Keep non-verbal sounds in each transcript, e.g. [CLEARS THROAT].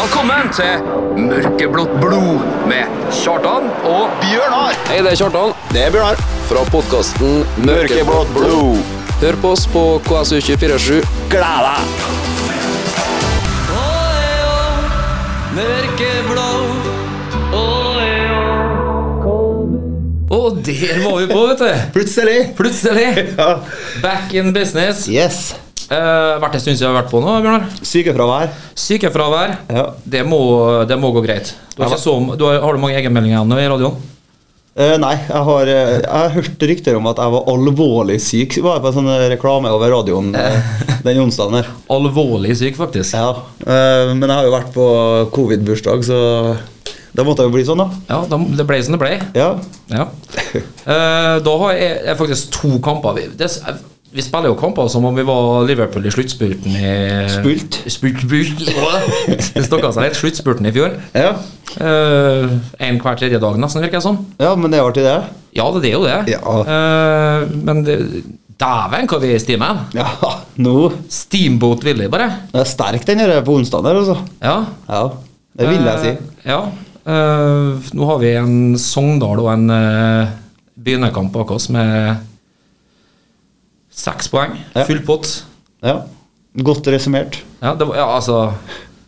Velkommen til Mørkeblått blod med Kjartan og Bjørnar. Hei, det er Kjartan Det er Bjørnar. fra podkasten Mørkeblått blod. Hør på oss på KSU247. Gled deg. Og der var vi på, vet du! Plutselig. Plutselig. Ja. Back in business. Yes. Uh, vært en stund siden jeg har vært på nå, Bjørnar. Sykefravær. Sykefravær, Ja. det må, det må gå greit. Du har, Ja, ikke så, du har, har du mange egenmeldinger igjen nå i radioen? Eh, nei, jeg har, eh, jeg har hørt rykter om at jeg var alvorlig syk. Var jeg på en sånn eh, reklame over radioen [LAUGHS] eh, den onsdagen her. Alvorlig syk, faktisk. Ja. eh, men jeg har jo vært på covid-bursdag, så da måtte jeg jo bli sånn, da. Ja, da, det ble som det ble. Ja. Ja. Eh, da har jeg, jeg faktisk to kamper. Vi, det, s- vi spiller jo kamper som om vi var Liverpool i sluttspurten i Spult? Spult, spult. Det stokka seg litt. Sluttspurten i fjor. ja. Én hver tredje dag, nesten, virker det som. Ja, men det er artig, det. Ja, det det er jo det. Ja. Eh, men det, dæven, hva vi er i steamen. Ja, [LAUGHS] nå. Steamboat Willy, bare. Det er sterk den her på onsdagen her, altså. Ja. Ja. Det vil jeg si. Eh, ja. Eh, nå har vi en Sogndal og en uh, begynnerkamp bak oss med seks poeng. Ja. Full pott. Ja. Godt resumert. Ja, det, var- ja, altså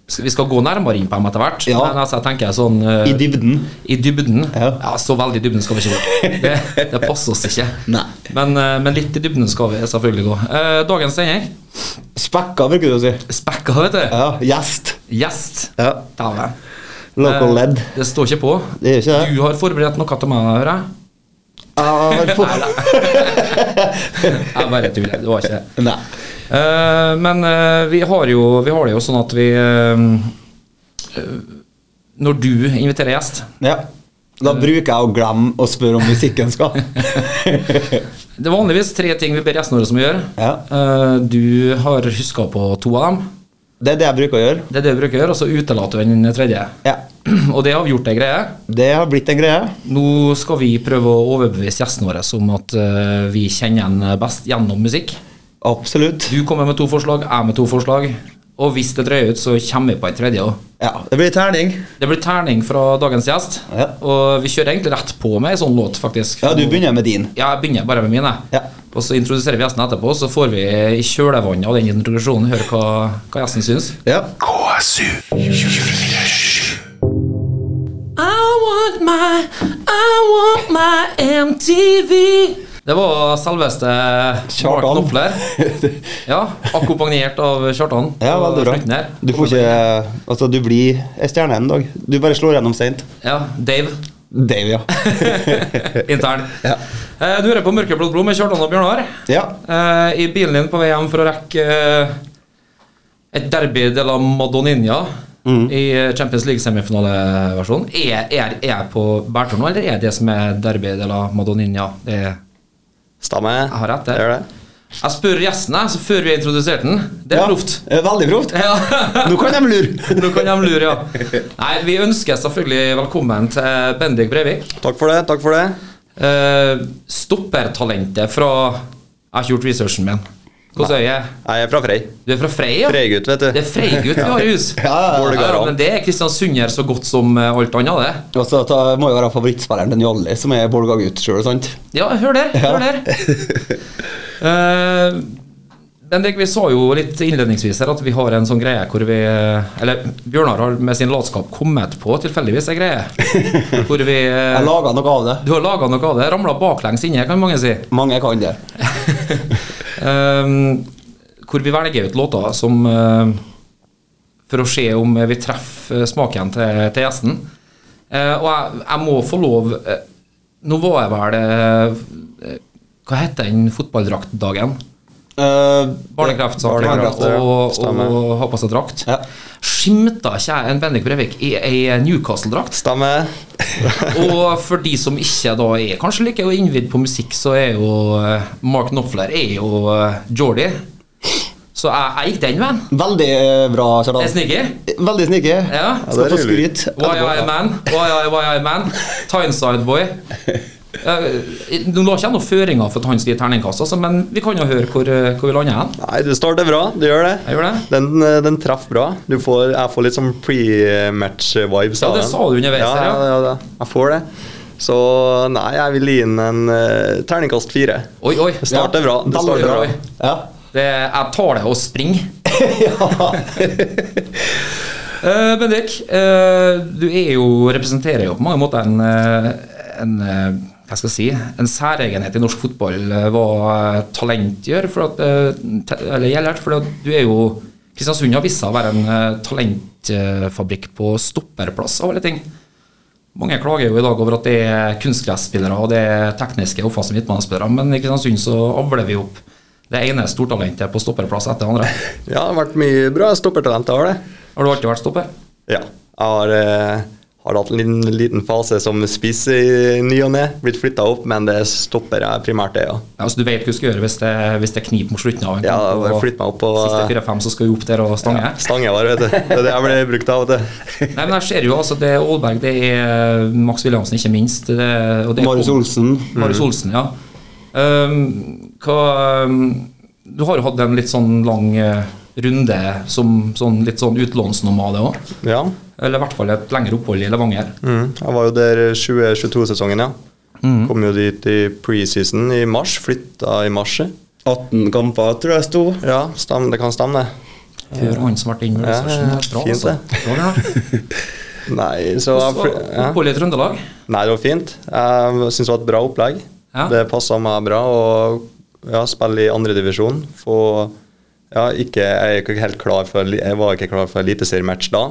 skal- Vi skal gå nærmere inn på dem etter hvert, Ja. men altså, jeg tenker sånn eh, I dybden. i dybden. Ja. Ja. Så veldig i dybden skal vi ikke gå. [LAUGHS] Det, det passer oss ikke. Nei. Men, eh, men litt i dybden skal vi selvfølgelig gå. Eh, dagens sending Spekka, bruker du å si. spekka, vet du. Ja, Gjest. Gjest. Ja. Dæven. Local led. Det står ikke på. Det gjør ikke det. Eh, Ah, Du har forberedt noe til meg, hører jeg. Jeg bare tuller. Det var ikke det. Nei. Eh, men eh, vi, har jo, vi har det jo sånn at vi eh, eh, Når du inviterer gjest Ja. Da Eh. bruker jeg å glemme å spørre om musikken [LAUGHS] skal. Det er vanligvis tre ting vi ber gjestene våre om å gjøre. Ja. Eh, du har huska på to av dem. Det er det jeg bruker å gjøre. Det er det du bruker å gjøre, og så utelater du den tredje. [CLEARS THROAT] Ja. Og det har vi gjort, det greia. Det har blitt en greie. Nå skal vi prøve å overbevise gjestene våre om at eh, vi kjenner en best gjennom musikk. Absolutt. Du kommer med to forslag, jeg med to forslag. Og hvis det drøyer ut, så kommer vi på en tredje òg. Ja, det blir terning. Det blir terning fra dagens gjest, Ja. og vi kjører egentlig rett på med en sånn låt, faktisk. Ja, du begynner med din. Ja, jeg begynner bare med mine. Ja. Og så introduserer vi gjesten etterpå, så får vi i kjølvannet av den introduksjonen høre hva, hva gjesten syns. Ja. Det var selveste Mark Kjartan. Knopfler. Ja, akkompagnert av Kjartan. [LAUGHS] Ja, på veldig bra. slutten her. Du får ikke Altså, du blir ei stjerne en dag. Du bare slår gjennom seint. Ja, Dave. Dave, ja. Intern. Ja. Eh, Du hører på Mørkeblått blod med Kjartan og Bjørnar. Ja. Eh, I bilen din på vei hjem for å rekke eh, et derby de la Madoninja Mm. i eh, Champions League-semifinaleversjonen. Er, er, er jeg på bærtur nå, eller er det som er derby de la Madoninja? Det er, Stemmer. jeg har rett, Jeg gjør det. det. Jeg spør gjesten jeg, så før vi har introdusert den. Det er Ja. proft. Eh, Veldig proft. [LAUGHS] Ja. Nå kan de lure. [LAUGHS] Nå kan de lure, ja. Nei, vi ønsker selvfølgelig velkommen til Bendik Brevik. Takk for det. takk for det. Eh, stoppertalentet fra Jeg har ikke gjort researchen min. Hvordan er jeg? Jeg er fra Frei. Du er fra Freia? Freigut, vet du. Det er Freigut vi har i hus. Ja, Bård Ja, Garan. men det er Kristiansund her så godt som eh, alt annet, det. Og så Altså, ta- må jo være favorittspilleren til Jolly, som er Bolga-gutt sjøl, sant? Ja, hør der. Hør der. Eh, Bendik, vi sa jo litt innledningsvis her at vi har en sånn greie hvor vi eh, Eller Bjørnar har med sin latskap kommet på tilfeldigvis ei [LAUGHS] greie hvor vi eh, [LAUGHS] Jeg laga noe av det. Du har laga noe av det. Ramla baklengs inni, kan mange si. Mange kan det. Ehm, hvor vi velger ut låter som eh, For å se om vi treffer smaken til, til gjesten. Eh, og jeg, jeg må få lov eh, Nå var jeg vel eh, Hva het den fotballdraktdagen? Eh, Barnekraftsaken Barnekraft, og, ja. og, Stemmer. og ha på seg drakt. Ja. Skimta ikke jeg en Bendik Brevik i ei Newcastle-drakt? Stemmer. Og for de som ikke da er kanskje like innvidd på musikk, så er jo eh, Mark Knopfler er jo eh, Jordy. Så jeg, jeg gikk den veien. Veldig eh, bra, Kjartan. Jeg sniker. Veldig sneaky. Ja. Skal det er få rolig. skryt. Why I man, why I, why I man Tyneside boy Eh, Nå la ikke jeg noen føringer for at han skal gi terningkast, altså, men vi kan jo høre hvor, eh, hvor vi lander hen. Nei, du starter bra. Du gjør det. Jeg gjør det. Den, eh, den traff bra. Du får, jeg får litt sånn pre-match-vibes Ja, av det den. sa du underveis Ja, her, ja. ja, ja, ja. Jeg får det. Så nei, jeg vil gi inn en eh, terningkast fire. Oi, oi. Det starter bra. Det Veldig starter bra. bra. Ja. [LAUGHS] Det, jeg tar det og springer. ja. Eh, Bendik, eh, du er jo, representerer jo på mange måter en, eh, en eh, hva skal jeg si, en særegenhet i norsk fotball eh, hva eh, talent gjør. For at, eh, te- eller gjelder, for at du er jo Kristiansund har vist seg å være en eh, talentfabrikk på stopperplass av alle ting. Mange klager jo i dag over at det er kunstgressspillere og det er tekniske offensive midtbanespillere, men i Kristiansund så avler vi opp det ene stortalentet på stopperplass etter det andre. Ja, det har vært mye bra stoppertalent. Jeg har det. Har du alltid vært stopper? Ja. Jeg har, eh, har hatt en liten, liten fase som spiss i ny og ne. Blitt flytta opp, men det stopper jeg primært, det, ja. Ja, altså Du vet hva du skal gjøre hvis det, hvis det kniper mot slutten av en Ja, kamp. bare og flytt meg opp og- Siste fire-fem, så skal vi opp der og stange. Stange var det, vet du. Det er det jeg ble brukt av. vet du. Nei, men jeg ser jo altså det er Aalberg, det er eh, Max Williamsen, ikke minst. Det, og det er Marius Olsen. Mm. Marius Olsen, ja. Ehm, hva, ehm, du har jo hatt en litt sånn lang eh, runde som sånn, litt sånn utlånsnomade òg. Ja. Eller i hvert fall et lengre opphold i Levanger. Mm. Jeg var jo der 2022-sesongen, ja. Mm. Kom jo dit i preseason i mars. Flytta i mars. 18 kamper, tror jeg sto. Ja, stem, det kan stemme, det. Hør han som har vært inne i Ja, Ulyssersen. ja, Bra, fint altså. Bra, Bjørnar. Nei, [LAUGHS] så jeg, Så fly- ja. Opphold i Trøndelag. Nei, det var fint. Jeg syns det var et bra opplegg. Ja. Det passa meg bra å ja, spille i andredivisjon. Ja, ikke- jeg, er ikke helt klar for, li- jeg var ikke klar for eliteseriematch da,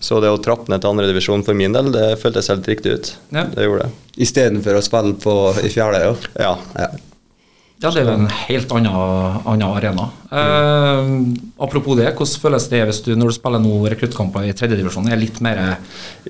så det å trappe ned til andredivisjon for min del, det føltes helt riktig ut. Ja. Det gjorde det. Istedenfor å spille på, i fjerde. Ja. Ja. Ja, det er jo en helt annen, annen arena. Eh, apropos det, hvordan føles det hvis du, når du spiller nå rekruttkamper i tredjedivisjon, er litt mer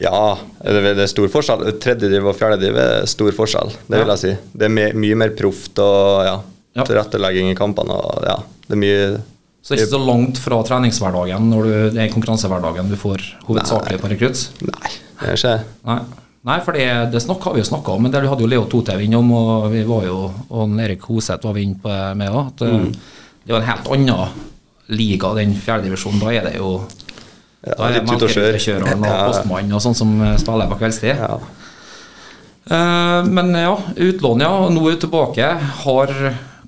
Ja, det er- det er stor forskjell. Tredjediv og fjerdediv er stor forskjell, det vil Ja. jeg si. Det er me- mye mer proft og ja, Ja. tilrettelegging i kampene og ja, det er mye Så det er ikke så langt fra treningshverdagen når du, det er konkurransehverdagen du får hovedsakelig på rekrutt? Nei, det er ikke Nei. Nei, for det, det snakk, har vi jo snakka om, men det hadde jo Leo Totev innom, og vi var jo, og han Erik Hoseth var vi inne på med òg, at eh, Mm. det er jo en helt annen liga, den fjerdedivisjonen. Da er det jo ja, da er det litt ut og kjøre. melkerytterkjøreren og [LAUGHS] Ja, postmannen og sånn som eh, spiller på kveldstid. ja. Eh, Men ja, utlån, ja. Nå er du tilbake. Har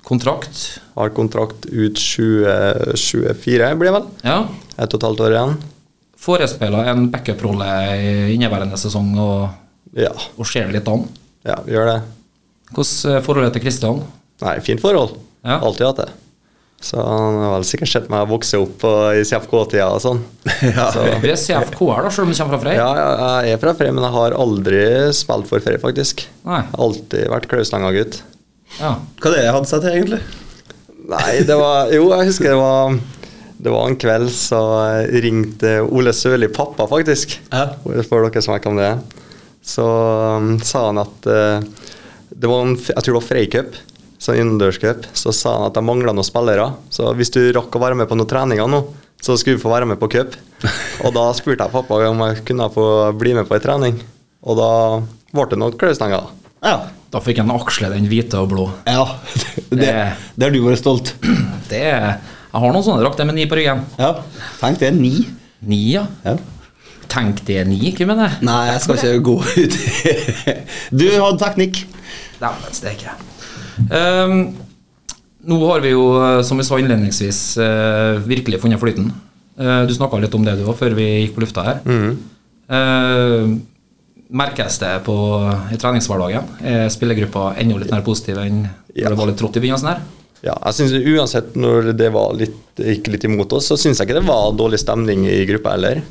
kontrakt. Har kontrakt ut 2024, blir det vel. Ja. Ett og et halvt år igjen. Forespeila en backup-rolle i inneværende sesong og, Ja, og ser det litt an. ja gjør det. Hvordan er forholdet til Kristian? Nei, fint forhold. Ja. Alltid hatt det. Så han har vel sikkert sett meg vokse opp og, i CFK-tida og [LAUGHS] sånn. Så, Du er CFK-er, da, selv om du kommer fra Frei? ja, ja, jeg er fra Frei, men jeg har aldri spilt for Frei, faktisk. Nei. Alltid vært Klauslangen-gutt. Ja. Hva er det jeg hadde sett til, egentlig? Nei, det var Jo, jeg husker det var det var en kveld så ringte Ole Sørli pappa, faktisk. Ja. For dere som vet hvem det er. Så um, sa han at eh, det var en, f- Jeg tror det var Freycup, sånn innendørscup. Så sa han at de mangla noen spillere. Så hvis du rakk å være med på noen treninger nå, så skulle du få være med på cup. Og da spurte jeg pappa om jeg kunne få bli med på ei trening. Og da ble det noen klaustenger. Ja. Da fikk han aksle den hvite og blå. ja. [LAUGHS] Det, Det- det har du vært stolt. Det er Jeg har noen sånne drakter med ni på ryggen. Ja. Tenk det, ni. Ni, ja. Ja. Tenk det er ni, hva mener jeg? Nei, jeg skal ikke gå ut [LAUGHS] Du hadde teknikk. Dæven steike. Ehm, nå har vi jo, eh, som vi sa innledningsvis, eh, virkelig funnet flyten. Eh, du snakka litt om det du òg, før vi gikk på lufta her. Eh, merkes det på, eh, i treningshverdagen? Er spillergruppa enda litt mer positiv enn Ja. når det var litt trått i begynnelsen her? Ja, jeg synes Uansett når det var litt, gikk litt imot oss, så syns jeg ikke det var dårlig stemning i gruppa heller.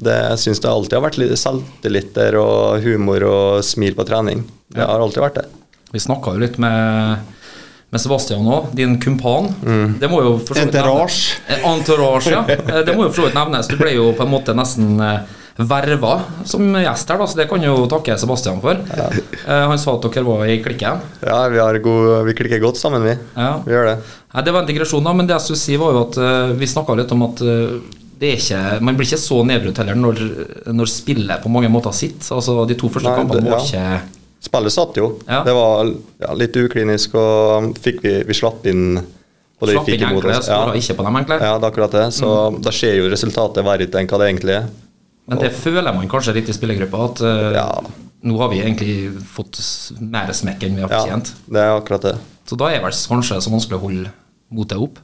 Det, jeg syns det alltid har vært litt selvtillit der og humor og smil på trening. Det har alltid vært det. Vi snakka jo litt med, med Sebastian òg, din kumpan. Mm. Det må jo for så vidt nevnes- Entourage. Eh, Entourage, ja. Eh, Det må jo for så vidt nevnes. Du ble jo på en måte nesten eh, verva som gjest her, da, så det kan jo takke Sebastian for. Eh, Han sa at dere var i klikken. Ja, vi, har god, vi klikker godt sammen, vi. Ja. Vi gjør det. Nei, det var en digresjon, da, men det jeg skulle si, var jo at eh, vi snakka litt om at eh, det er ikke, man blir ikke så nedbrutt heller når, når spillet på mange måter sitter. Altså, de to første Nei, det- kampene var ja. ikke Spillet satt jo. Ja. Det var ja, litt uklinisk, og fikk vi, vi slapp inn på det Slapp vi fikk inn imot enkle, oss. skåra ikke Mm. på dem enkle. Ja, det er akkurat det. Så da ser jo resultatet verre ut enn hva det egentlig er. Men det føler man kanskje litt i spillergruppa, at eh, Ja. nå har vi egentlig fått s- mer smekk enn vi har Ja, fortjent. det er akkurat det. Så da er vel kanskje så vanskelig å holde motet opp.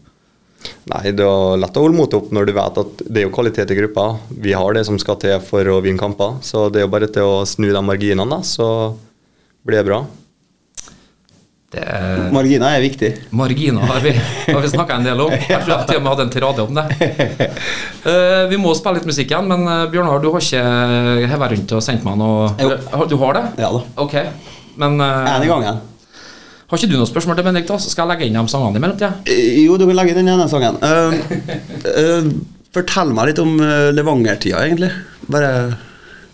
Nei, det er lett å holde motet opp når du vet at det er jo kvalitet i gruppa. Vi har det som skal til for å vinne kamper, så det er jo bare til å snu de marginene, da, så blir det bra. Det er eh, Marginer er viktig. Marginer har vi, har vi snakka en del om. Jeg tror jeg til og med hadde en tirade om det. [LAUGHS] Eh, vi må spille litt musikk igjen, men eh, Bjørnar, du har ikke hevet rundt og sendt meg noe Jo. Har- Du har det? Ja da. Ok. Men eh, En i gangen. har ikke du noe spørsmål til Benedikt, da? så skal jeg legge inn de sangene i mellomtida? Eh, Jo, du kan legge den ene sangen. Eh, eh, fortell meg litt om eh, Levanger-tida, egentlig. Bare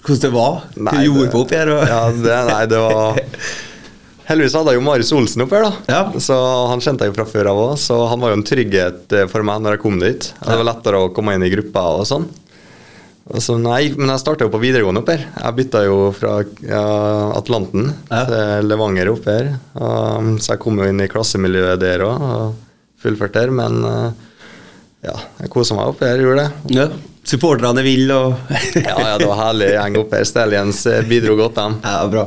hvordan det var. Hva det- du gjorde på opp her. Og... ja, det, nei, det var Heldigvis hadde jeg jo Marius Olsen opp her, da. Ja. Så han kjente jeg jo fra før av òg, så han var jo en trygghet eh, for meg når jeg kom dit. Det var lettere å komme inn i gruppa og sånn. Og så, nei, men jeg starta jo på videregående opp her. Jeg bytta jo fra ja, Atlanten Ja. til Levanger opp her. Og, mm, så jeg kom jo inn i klassemiljøet der òg og fullførte her, men eh, ja, jeg kosa meg opp her, [LAUGHS] gjorde det. Ja. Supporterne vil og Ja, ja, det var herlig gjeng opp her. Stallions eh, bidro godt, dem. [LAUGHS] Ja, bra.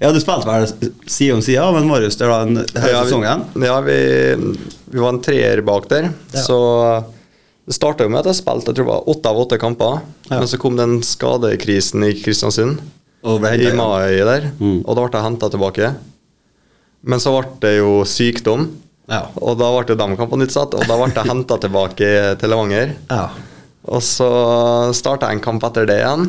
ja, du spilte vel side om side med Marius der da en hele Ja, vi- sesongen? Ja, vi, vi var en treer bak der. Så det starta jo med at jeg spilte jeg tror det var åtte av åtte kamper. Ja. Men så kom den skadekrisen i Kristiansund Og ble hentet, i ja. mai der. Mm. Og da ble jeg henta tilbake. Men så ble det jo sykdom, Ja. og da ble jo de kampene utsatt. Og da ble [LAUGHS] jeg henta tilbake til Levanger. ja. Og så starta jeg en kamp etter det igjen.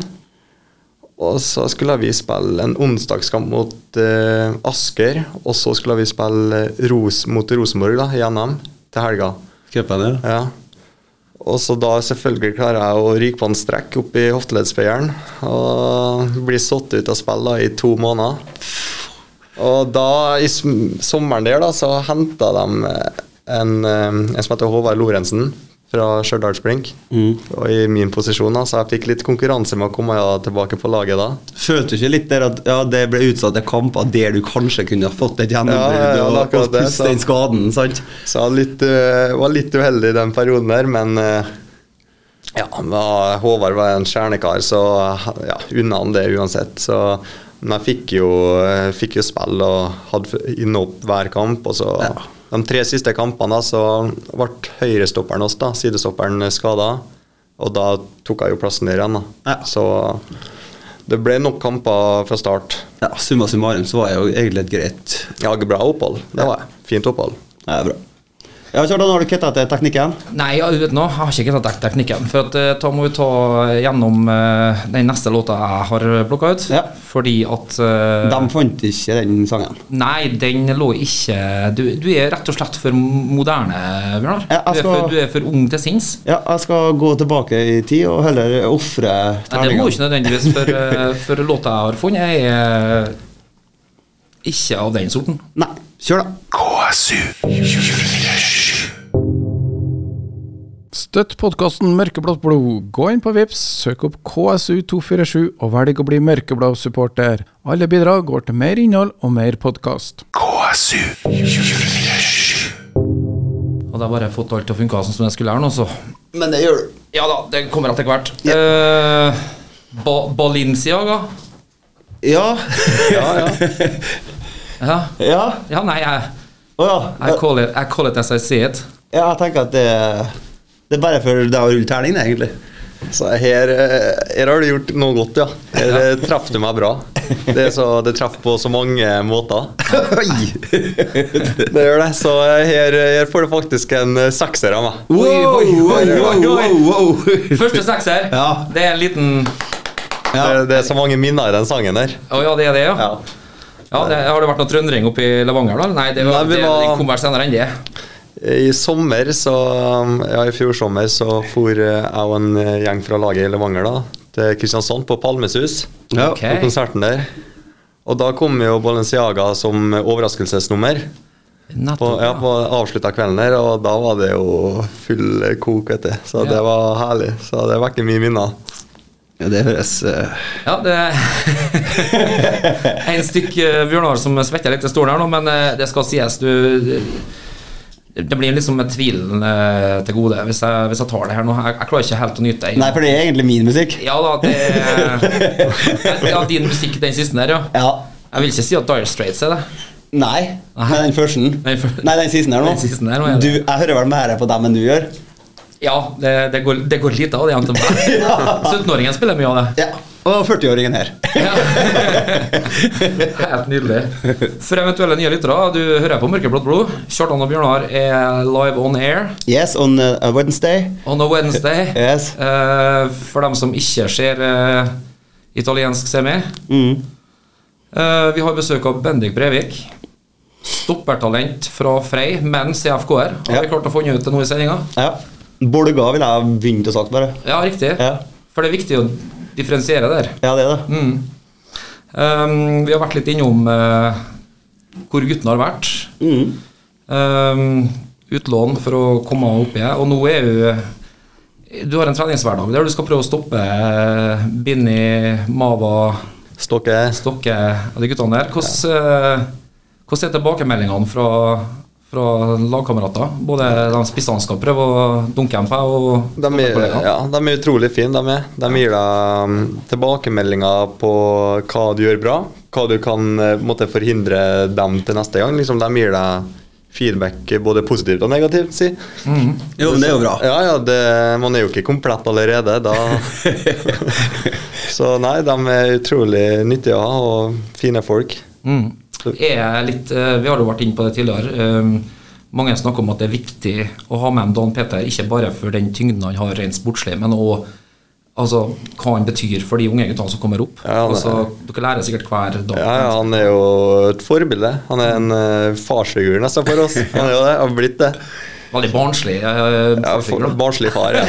Og så skulle vi spille en onsdagskamp mot eh, Asker. Og så skulle vi spille eh, Ros mot Rosenborg da, i NM til helga. Cupen, ja. Ja. Og så da selvfølgelig klarer jeg å ryke på en strekk oppi hofteleddsspeieren. Og blir satt ut av spill da, i to måneder. Og da, i sm- sommeren der, da, så henta de eh, en, eh, en som heter Håvard Lorentzen fra Stjørdals Blink. Og i min posisjon, da, så jeg fikk litt konkurranse med å komme ja, tilbake på laget da. Følte du ikke litt der at ja, det ble utsatt til kamper der du kanskje kunne ha fått et gjennombrudd Ja, ja, ja, og, det er akkurat og det, pustet så- den skaden, sant? Så jeg var litt, eh, var litt uheldig i den perioden der, men eh, ja, han var, Håvard var en stjernekar, så eh, ja, unna han det uansett. Så, men jeg fikk jo, eh, fikk jo spill og hadde f- innhopp hver kamp. Og så, De tre siste kampene da, så ble høyrestopperen oss, da, sidestopperen, skada. Og da tok jeg jo plassen der igjen. Da. Ja. Så det ble nok kamper fra start. Ja, summa summarum så var jeg jo egentlig et greit Jeg hadde bra opphold. Det var jeg. Fint opphold. Ja, bra. Ja, Kjartan, har du kitta til teknikken? Nei, jeg vet nå, jeg har ikke kunnet dekke teknikken. For at, eh, da må vi ta gjennom eh, den neste låta jeg har plukka ut. Ja. Fordi at eh, De fant ikke den sangen. Nei, den lå ikke du, du er rett og slett for moderne, Bjørnar. Ja, jeg Du, er skal- for, du er for ung til sinns. Ja, jeg skal gå tilbake i tid og heller ofre Nei, det må terningene. ikke nødvendigvis, for, eh, for låta jeg har funnet, jeg er ikke av den sorten. Nei, kjør, da. Støtt podkasten Mørkeblått blod. Gå inn på Vips, søk opp KSU247 og velg å bli mørkeblå supporter. Alle bidrag går til mer innhold og mer podkast. Og da har jeg bare fått alt til å funke sånn som jeg skulle her nå, så Men det gjør du. Ja da, det kommer etter hvert. Eh, ba Balinciaga. Ja. [LAUGHS] ja, ja. Ja. ja. ja, nei, jeg Å I ja. call, it, I call it as I see it. ja. Jeg tenker at det, det er bare for deg å rulle terning, det, egentlig. Så her, eh, her har du gjort noe godt, ja. Her eh, traff du meg bra. Det, er så, det traff på så mange måter. Det gjør det. Så eh, her, her får du faktisk en eh, sekser av meg. Oi, oi, oi, oi, oi, oi. Første sekser. Ja. Det er en liten Det, det er så mange minner i den sangen der. Å ja, det er det, ja? Ja. ja det, har det vært noe trøndering oppe i Levanger, da? Nei, det, var, Nei, vi det, var- det kommer senere enn det. I sommer, så um, Ja, i fjor sommer så for eh, jeg og en eh, gjeng fra laget i Levanger da til Kristiansand på Palmesus. Ja. Ok. På konserten der. Og da kom jo Balenciaga som overraskelsesnummer. Nettopp. på, ja, på avslutta kvelden her, og da var det jo full kok, vet du. Så Ja. det var herlig. Så det vekker mye minner. Ja, det høres eh, Ja, det [LAUGHS] er En stykk eh, Bjørnar som svetter litt i stolen her nå, men eh, det skal sies, du Det blir liksom med tvilen eh, til gode hvis jeg, hvis jeg tar det her nå. Jeg, jeg klarer ikke helt å nyte det. Nei, for det er egentlig min musikk. Ja da, [LAUGHS] det Ja, din musikk, den siste der, ja. Ja. Jeg vil ikke si at Dire Straits er det. Nei, men den første. Den før- Nei, den siste her nå. Den siste her nå, ja. du, jeg hører vel mer på dem enn du gjør. Ja, det, det, går, det går lite av det igjen [LAUGHS] til meg. 17-åringen spiller mye av det. Ja. Og 40-åringen her. Ja. Helt nydelig. For eventuelle nye lyttere, du hører på Mørkeblått blod. Kjartan og Bjørnar er live on air [LAUGHS] Yes, on eh, a Wednesday. on a Wednesday. [LAUGHS] Yes. Eh, for dem som ikke ser eh, italiensk semi. Mm. Eh, vi har besøk av Bendik Brevik. Stoppertalent fra Frei, men CFK-er. Har vi Ja. klart å finne ut det nå i sendinga? Ja. Bolga ville jeg begynt å sagt, bare. Ja, riktig. Ja. For det er viktig å differensiere der. Ja, det er det. Mm. Um, vi har vært litt innom eh, hvor guttene har vært. Mm. Um, utlån for å komme opp igjen. Og nå er jo Du har en treningshverdag der du skal prøve å stoppe eh, Binni, Mava, Stokke Stokke og de guttene der. Hvordan, eh, hvordan er tilbakemeldingene fra, fra lagkamerater? Både de spissene skal prøve å dunke dem på, og de er, ja, de er utrolig fine, de er. De gir deg mm, tilbakemeldinger på hva du gjør bra, hva du kan eh, på en måte, forhindre dem til neste gang. Liksom, de gir deg feedback eh, både positivt og negativt, si. Jo, men det er jo bra. Ja, ja, det, man er jo ikke komplett allerede, [LAUGHS] da. Så nei, de er utrolig nyttige å ha, og fine folk. Mm. Er litt, eh, vi har jo vært inne på det tidligere. Um, mange snakker om at det er viktig å ha med en Dan Peter, ikke bare for den tyngden han har rent sportslig, men òg altså, hva han betyr for de unge guttene som kommer opp. Ja, det- altså, dere lærer sikkert hver dag. Ja, ja, han er jo et forbilde. Han er en eh, farsfigur nesten for oss. Han er jo det, har blitt det. Veldig barnslig. eh, Ja, for- forfigur, da. Barnslig far, ja.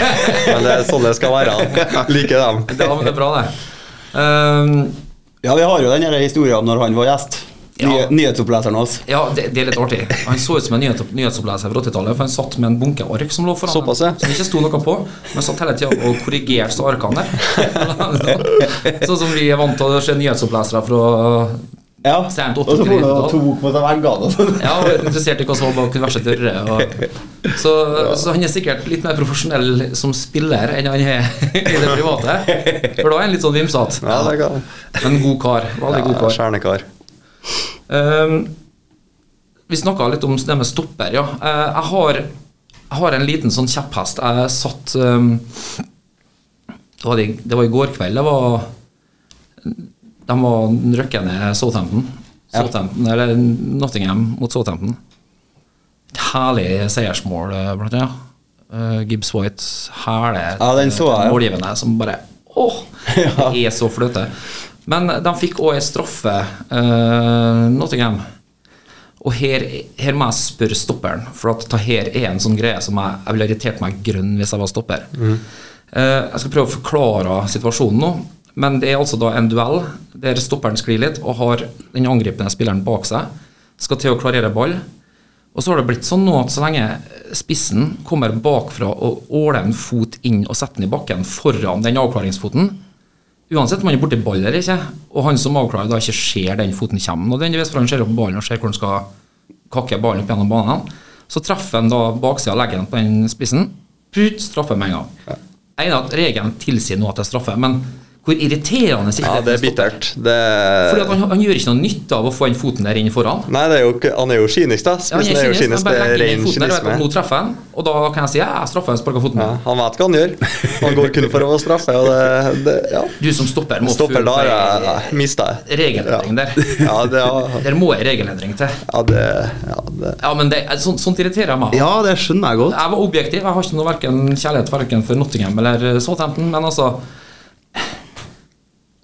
Men det er sånn det skal være. Liker dem. Ja, men det er bra, det. [LAUGHS] Um, Ja, vi har jo den her historien om når han var gjest. Ja. Nye, nyhetsoppleseren hans. ja, det, det er litt artig. Han så ut som en nyhet, nyhetsoppleser fra 80-tallet, for han satt med en bunke ark som lå foran Såpass, ja. ham, som ikke sto noe på, men satt hele tida og korrigerte arkene der. [LAUGHS] sånn som vi er vant til å se nyhetsopplesere fra Ja. Sent Og så får han jo 83. tok på seg veggene og sånn. Ja, og er interessert i hva som var bak diverse dører. Og, så, så han er sikkert litt mer profesjonell som spiller enn han er [LAUGHS] i det private. For da er han litt sånn vimsete. Ja, det kan Men god kar. Veldig god ja, kar. Stjernekar. Ehm, vi snakka litt om det med stopper, ja. Eh, jeg, har, jeg har en liten sånn kjepphest. Jeg satt ehm, det, var i, det var i går kveld. Det var De var røkkende Southampton. Southampton Eller Nottingham mot Southampton. Et Herlig seiersmål, eh, blant annet. Eh, Gibbs White, herlig Ja, den så jeg, ja. målgivende som bare Åh! [LAUGHS] Det er så fløte. Men de fikk òg en straffe, eh, Nottingham. Og her, her må jeg spørre stopperen, for at det her er en sånn greie som jeg, jeg ville irritert meg grønn hvis jeg var stopper. Eh, jeg skal prøve å forklare situasjonen nå, men det er altså da en duell der stopperen sklir litt og har den angripende spilleren bak seg, skal til å klarere ball. Og så har det blitt sånn nå at så lenge spissen kommer bakfra og åler en fot inn og setter den i bakken foran den avklaringsfoten, uansett om han er borti ball eller ikke, og han som avklarer da ikke ser den foten kommer nødvendigvis, for han ser opp ballen og ser hvor han skal kakke ballen opp gjennom banen, så treffer han da baksida av leggen på den spissen, prut, straffer med en gang. Jeg er enig at regelen tilsier nå at det er straffe, men hvor irriterende sikkert Ja, det er for en stopper. bittert. Det Fordi at han, han gjør ikke noe nytte av å få den foten der inn foran. Nei, det er jo, ikke- han er jo kynisk, da. Ja, han Spissen er er jo kynisk, han kynisk. Det bare er legger inn ren foten der og vet at nå kynisme. treffer han, og da kan jeg si ja, jeg straffer, jeg sparker foten. Ja, han vet hva han gjør. Han går kun for å straffe, og det, det ja. Du som stopper må Stopper da, ja, mista jeg. regelendring der. Ja, det, ja, Der må jeg regelendring til. ja, det, ja, det. Ja, men det, eh, sånt, sånt irriterer meg. Ja, det skjønner jeg godt. Jeg var objektiv. Jeg har ikke noe hverken kjærlighet hverken for Nottingham eller eh, Southampton, men altså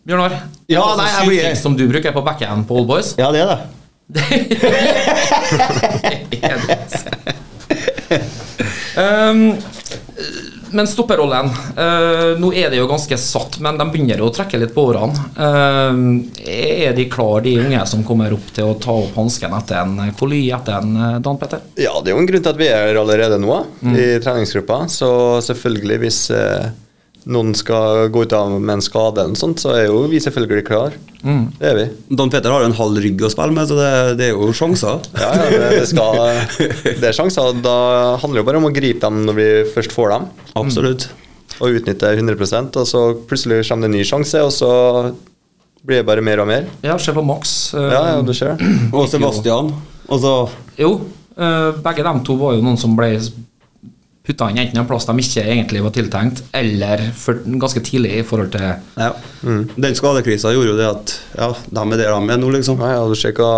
Bjørnar, Ja, sånn nei, jeg skyting blir- som du bruker på backhand på Old Boys [LAUGHS] Ja, det er det. um, men stopperollen eh, Nå er det jo ganske satt, men de begynner jo å trekke litt på årene. Eh, er de klar, de unge som kommer opp til å ta opp hansken etter en koly etter en eh, Dan Petter? Ja, det er jo en grunn til at vi er her allerede nå i treningsgruppa. Så selvfølgelig, hvis eh, noen skal gå ut av med en skade, eller noe sånt, så er jo vi selvfølgelig klar. Det er vi. Don Peter har jo en halv rygg å spille med, så det, det er jo sjanser. Ja, ja det, det, skal, det er sjanser. Da handler det jo bare om å gripe dem når vi først får dem, Absolutt. og utnytte 100 og så plutselig kommer det en ny sjanse, og så blir det bare mer og mer. Ja, se på Max. eh, Ja, ja, du ser det. [LAUGHS] Og Sebastian. Og så Jo, eh, begge de to var jo noen som ble putta inn enten en plass de ikke egentlig var tiltenkt, eller for, ganske tidlig i forhold til Ja. Den skadekrisa gjorde jo det at ja, de er der de er nå, liksom. Ja, ja, du ser hva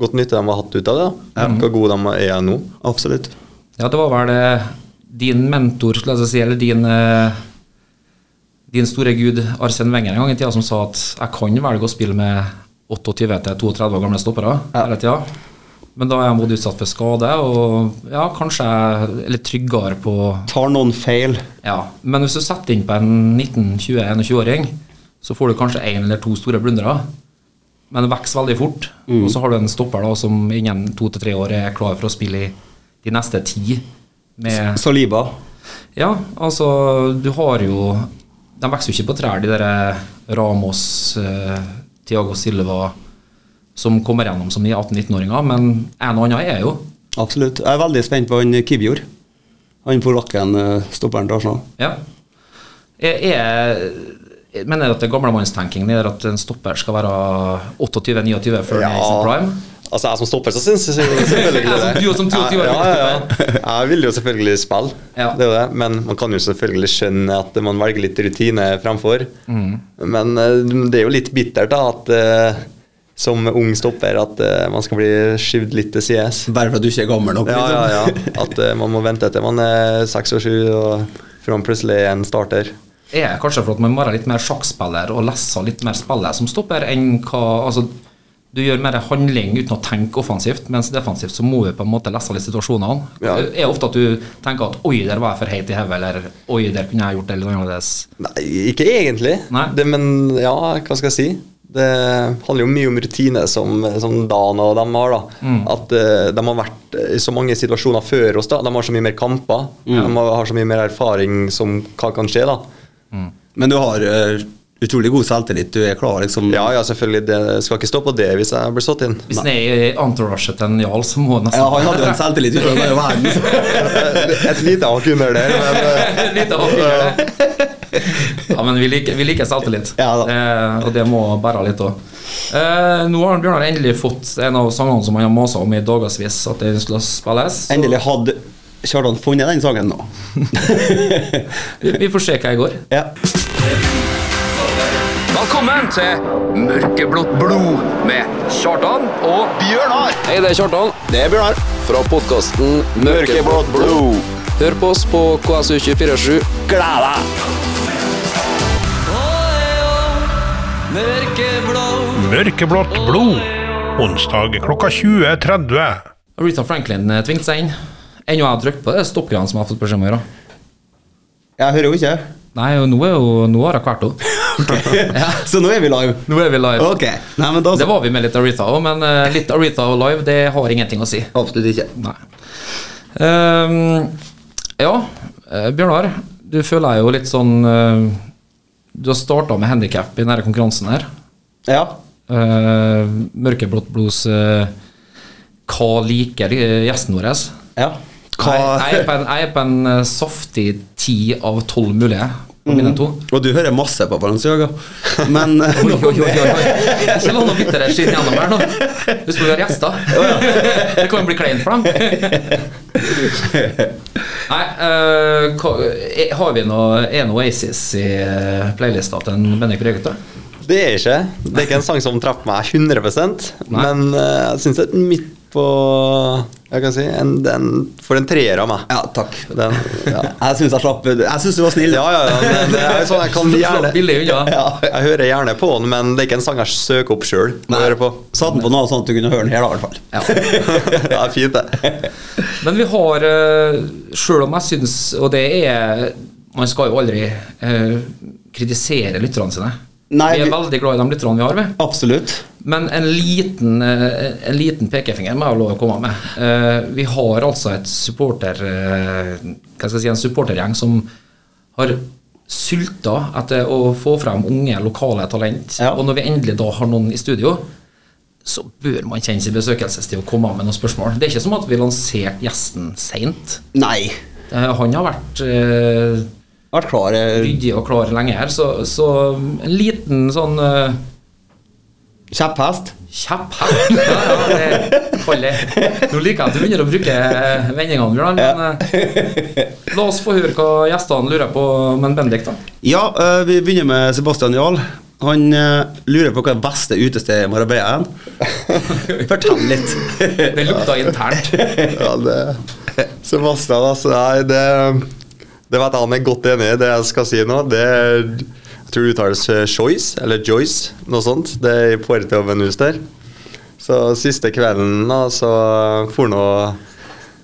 godt nytte de har hatt ut av det. da. Hvor gode de er nå. Absolutt. Ja, det var vel eh, din mentor, skulle jeg til å si, eller din eh, din store gud Arsen Wenger en gang i tida som sa at jeg kan velge å spille med 28 til 32 år gamle stoppere hele tida, men da er jeg både utsatt for skade og ja, kanskje jeg er litt tryggere på Tar noen feil. Ja, men hvis du setter inn på en 19-20-21-åring, så får du kanskje én eller to store blundere. Men det vokser veldig fort. Og så har du en stopper da, som innen to til tre år er klar for å spille i de neste ti. Med, Saliba. ja, altså, du har jo De vokser jo ikke på trær, de der eh, Ramos, eh, Tiago Silva, som kommer gjennom som de 18-19-åringer. Men en og annen er jo. Absolutt. Jeg er veldig spent på han Kivjord. Han polakken, eh, stopperen til Arsenal. Ja. Jeg, jeg, jeg mener at det er gamlemannstenking det er at en stopper skal være 28-29 før ja. sin prime. Altså, jeg som stopper, så syns jeg selvfølgelig Ja, som det. du som 22 år ja, ja, ja. Jeg vil jo selvfølgelig spille, Ja. det er jo det. men man kan jo selvfølgelig skjønne at man velger litt rutine fremfor. Mm. Men eh, det er jo litt bittert da, at eh, som ung stopper at eh, man skal bli skyvd litt til sides. Bare for at du ikke er gammel nok. Ja, ja, liksom. ja. At eh, man må vente til man er seks og sju, og før man plutselig er en starter. Det er kanskje for at man må være litt mer sjakkspiller og lese litt mer spillet som stopper enn hva altså, Du gjør mer handling uten å tenke offensivt, mens defensivt så må du på en måte lese litt situasjonene. Ja. Det er ofte at du tenker at 'oi, der var jeg for heit i hodet', eller 'oi, der kunne jeg gjort det litt annerledes'. Nei, ikke egentlig. Nei. Det, men ja, hva skal jeg si? Det handler jo mye om rutine som, som Dan og dem har. da. Mm. At eh, de har vært i så mange situasjoner før oss. da. De har så mye mer kamper. De har- har så mye mer erfaring som hva kan skje. da. Men du har eh, utrolig god selvtillit. Du er klar, liksom. Ja, ja, selvfølgelig. Det skal ikke stå på det hvis jeg blir satt inn. Hvis det er i entouraget til en Jarl, så må du Ja, nesten han hadde jo en selvtillit utover bare verden. [LAUGHS] Et lite hakk under der. Men, eh, Lite avbygger det. [LAUGHS] Ja, men vi liker, vi liker selvtillit, Ja da. eh, og det må bære litt òg. Eh, nå har Bjørnar endelig fått en av sangene som han har masa om i dagevis at den skulle spilles. så Endelig hadde Kjartan funnet den sangen nå. Vi, vi får se hva jeg går. Ja. Velkommen til Mørkeblått blod med Kjartan og Bjørnar. Hei, det er Kjartan. Det er Bjørnar. Fra podkasten Mørkeblått blod. Hør på oss på KSU247. Mørkeblått blod. Onsdag klokka 20.30. Rita Franklin eh, tvingte seg inn. Ennå har jeg trykket på det stoppgreiene som jeg har fått beskjed om å gjøre. Jeg hører jo ikke. [LAUGHS] Nei, og nå, er jo, nå har jeg kvalt henne. Så nå er vi live. Nå er vi live. Ok. Nei, men da Det var vi med litt Aretha òg, men eh, litt Aretha og live, det har ingenting å si. Absolutt ikke. Nei. Ehm, ja, eh, Bjørnar. Du føler deg jo litt sånn eh, Du har starta med handikap i denne konkurransen her. Ja. Eh, Mørkeblått blods eh, Hva liker eh, gjesten vår? ja. Hva Jeg, jeg er på en, jeg er på en eh, saftig ti av tolv mulige på mine to. Og du hører masse på Balenciaga, men [LAUGHS] Oi, oi, oi, [LAUGHS] oi, oi. Ikke la noe bitre skinn gjennom her nå. Husk på vi har gjester. Det kan jo bli kleint for dem. Nei, eh, hva- eh, har vi noe, er noe Oasis i eh, playlista til en Bendik Bregut? da? Det er ikke. Det er ikke en sang som treffer meg 100 men eh, jeg syns det er midt på Jeg kan si en, den får en treer av meg. Ja, takk. Den, ja. [LAUGHS] Jeg syns jeg slapp Jeg syns du var snill. Ja, ja, ja, men det er jo sånn jeg kan Slapp gjerne billig unna. ja, [LAUGHS] Jeg hører gjerne på den, men det er ikke en sang jeg søker opp sjøl. Satt den på noe sånn at du kunne høre den her, da, i [LAUGHS] hvert fall. Det er fint, det. Men vi har, eh, sjøl om jeg syns Og det er Man skal jo aldri eh, kritisere lytterne sine. Nei, vi er vi- veldig glad i de lytterne vi har, vi. Absolutt. Men en liten, eh, en liten pekefinger må jeg ha lov å komme med. Eh, Vi har altså et supporter, eh, hva skal jeg si, en supportergjeng som har sulter etter å få frem unge, lokale talent. Ja. Og når vi endelig da har noen i studio, så bør man kjenne sin besøkelsestid og komme med noen spørsmål. Det er ikke som at vi lanserte gjesten seint. Nei. Han har vært eh, Vært klar eh, ryddig og klar lenge her, så, så en liten sånn eh, kjepphest. Kjepphest! Ja, ja, det kaller jeg. Nå liker jeg at du begynner å bruke eh, vendingene, Bjørn. Men eh, la oss få høre hva gjestene lurer på med en Bendik, da. [LAUGHS] Ja, eh, vi begynner med Sebastian Jarl. Han eh, lurer på hva det beste utestedet i Marbella er. Fortell litt. Det lukta internt. Ja, det Sebastian, altså. Nei, det, det vet jeg han er godt enig i, det jeg skal si nå. Det er Jeg tror det uttales eh, Choice, eller Joyce, noe sånt. Det er i Puerto Venus der. Så siste kvelden, da, så for nå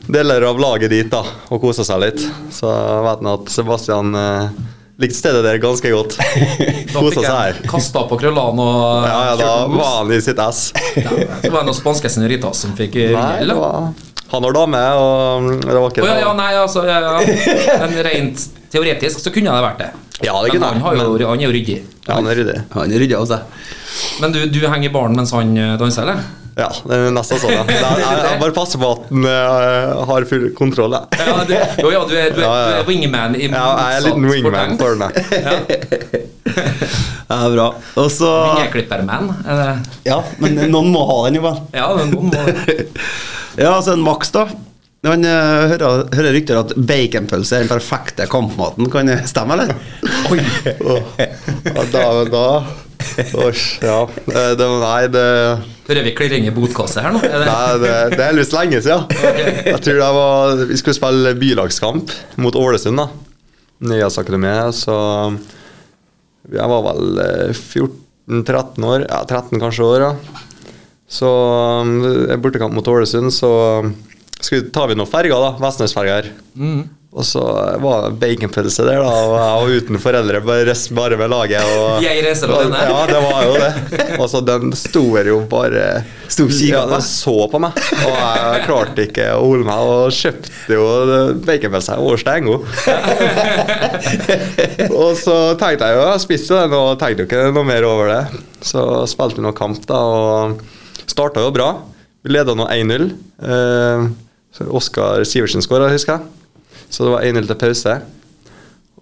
deler av laget dit, da, og kosa seg litt. Så vet han at Sebastian eh, likte stedet der ganske godt. [LAUGHS] Da Kosa fikk seg her. jeg kasta på krøllene og Ja, ja, da kjørte mos. var han i sitt ess. Ja, Så var det noen spanske senoritas som fikk Nei, gjeld. det var Han har dame, og mm, det var ikke Å ja, ja, nei, altså ja, ja. Men rent teoretisk så kunne det vært det. Ja, det kunne men han, det, har jo, men- han er jo ryddig. Ja, han er ryddig. altså. Han rydder av seg. Men du, du henger i baren mens han eh, danser, [LAUGHS] eller? Ja, det er nesten sånn. Ja. Det er, jeg, jeg bare passer på at den eh, har full kontroll. Jeg. Ja, du, jo, ja, du er, du er, Ja, ja, Du ja. er wingman. I Ja, jeg er en liten motsatt sporttegn. wingman for den. jeg. Ja, bra. Og så Fingerklipperman. er det- Ja, men noen må ha den, jo vel. Ja, men noen må det. [LAUGHS] Ja, altså en Max, da. Han eh, hører, hører rykter at baconpølse er den perfekte kampmaten. Kan det stemme, eller? Ja, da, da Osh, ja. Eh, Det, nei, det, Hører vi klirring i botkasset her nå? Er det? nei, det, det er lyst lenge siden. Jeg tror det var, vi skulle spille bylagskamp mot Ålesund. da. Nyhetsakademiet. Så jeg var vel eh, 14-13 år. Ja, 13 kanskje år, ja. Så um, eh, bortekamp mot Ålesund, så um, skulle, tar vi noen ferger, da. Vestnesferger. Mm. Og så eh, var det baconpølse der, da. Og jeg var uten foreldre, bare, rest- bare med laget. Og, [LAUGHS] Jeg reiser og, alene. Ja, det var jo det. Og så den sto her jo bare Sto og kikket ja, på. den så på meg. Og jeg klarte ikke å holde meg, og kjøpte jo baconpølse. Jeg var steingod. [LAUGHS] Og så tenkte jeg jo, jeg spiste den og tenkte jo ikke noe mer over det. Så spilte vi noe kamp da, og starta jo bra. Vi leda nå 1-0. Eh, så Oskar Sivertsen skåra, husker jeg. Så det var 1-0 til pause.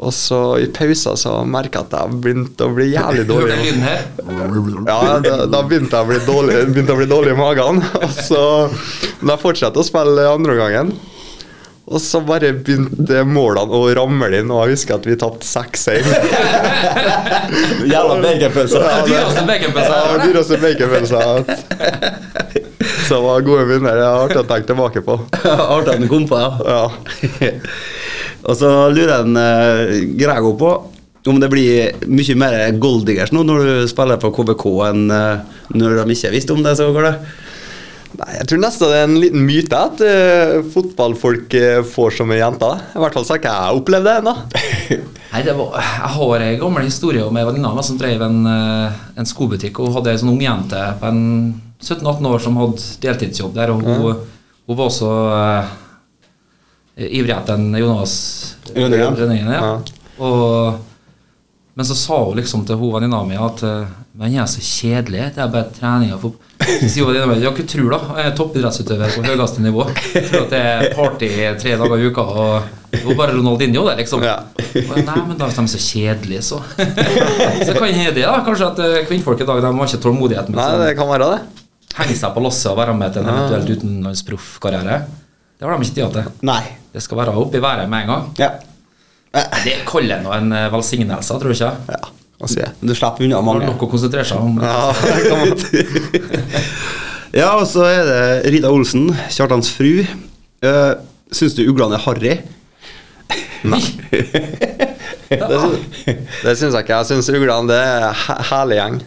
Og så i pausa så merka jeg at jeg begynte å bli jævlig Du [LAUGHS] dårlig. hørte lyden her? Ja, da, da begynte jeg å bli dårlig, begynte jeg å bli dårlig i magen. [LAUGHS] Og så, men jeg fortsatte å spille andre omgangen. Og så bare begynte målene å ramle inn, og jeg husker at vi tapte 6-1. Jævla baconpølse. Ja, det- Dyreste baconpølse Ja, jeg har. dyreste baconpølsa. Så det var gode minner. Det er artig å tenke tilbake på. Artig at du kom på, ja. Ja. [LAUGHS] Og så lurer jeg en eh, Grego på om det blir mye mer Goldigers nå når du spiller på KBK enn eh, når de ikke visste om det, så går det. Nei, Jeg tror nesten det er en liten myte at eh, fotballfolk eh, får som ei jente. I hvert fall så har ikke jeg opplevd det ennå. [LAUGHS] Nei, det var, jeg har en gammel historie om en venninne av meg som drev en, eh, en skobutikk. og Hun hadde ei sånn ung jente på en 17-18 år som hadde deltidsjobb der. og Hun, hun var også eh, ivrig etter en Jonas Rønningen. Rønningen, ja. Og, men så sa hun liksom til hun venninna mi at eh, men jeg er så kjedelig, det er bare trening og fotball. Så sier hun venninna mi ja, hva tror du da? Jeg er toppidrettsutøver på høyeste nivå. Jeg tror at det er party tre dager i uka og hun bare Ronaldinho, det, liksom. Ja. Og jeg, Nei, men da er de så kjedelige, så. [LAUGHS] Så kan hende det, da. Kanskje at eh, kvinnfolk i dag de har ikke tålmodighet med Nei, å det kan være det. henge seg på lasset og være med til en eventuelt utenlandsproffkarriere. Det har de ikke tid til. Nei. Det skal være opp i været med en gang. Ja. Det kaller jeg nå en eh, velsignelse, tror du ikke? Ja, hva sier jeg? Du slipper unna Har mange. nok å konsentrere seg om. Ja, det kan man. Ja, og så er det Rita Olsen, Kjartans fru. Uh, Syns du uglene er harry? [LAUGHS] Det, sy- det syns jeg ikke. Jeg syns uglene det er en he- herlig gjeng.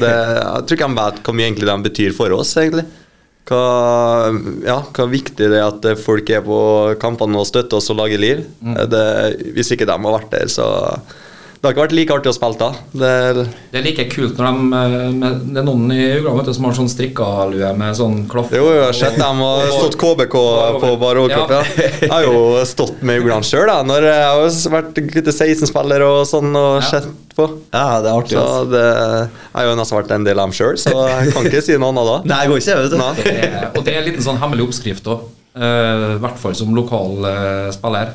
Det, jeg tror ikke de vet hvor mye egentlig de betyr for oss, egentlig. Hva, ja, hva viktig det er at folk er på kampene og støtter oss og lager liv. Det, hvis ikke de har vært der, så Det har ikke vært like artig å spille da. Det er, Det er like kult når de eh, med, Det er noen i Ugland vet du, som har sånn strikkalue med sånn klaff. jo, jo, jeg har sett dem og stått KBK på bar overkropp. Ja. Ja. Jeg har jo stått med uglene sjøl, jeg. Når jeg har jo vært gutte 16-spiller og sånn og sett på. Ja, det er artig. Så altså. det, jeg har jo nesten vært en del av dem sjøl, så jeg kan ikke si noe annet da. [LAUGHS] Nei, jeg går ikke, vet du. Det er- Og det er en liten sånn hemmelig oppskrift òg. I hvert fall som lokal eh, spiller.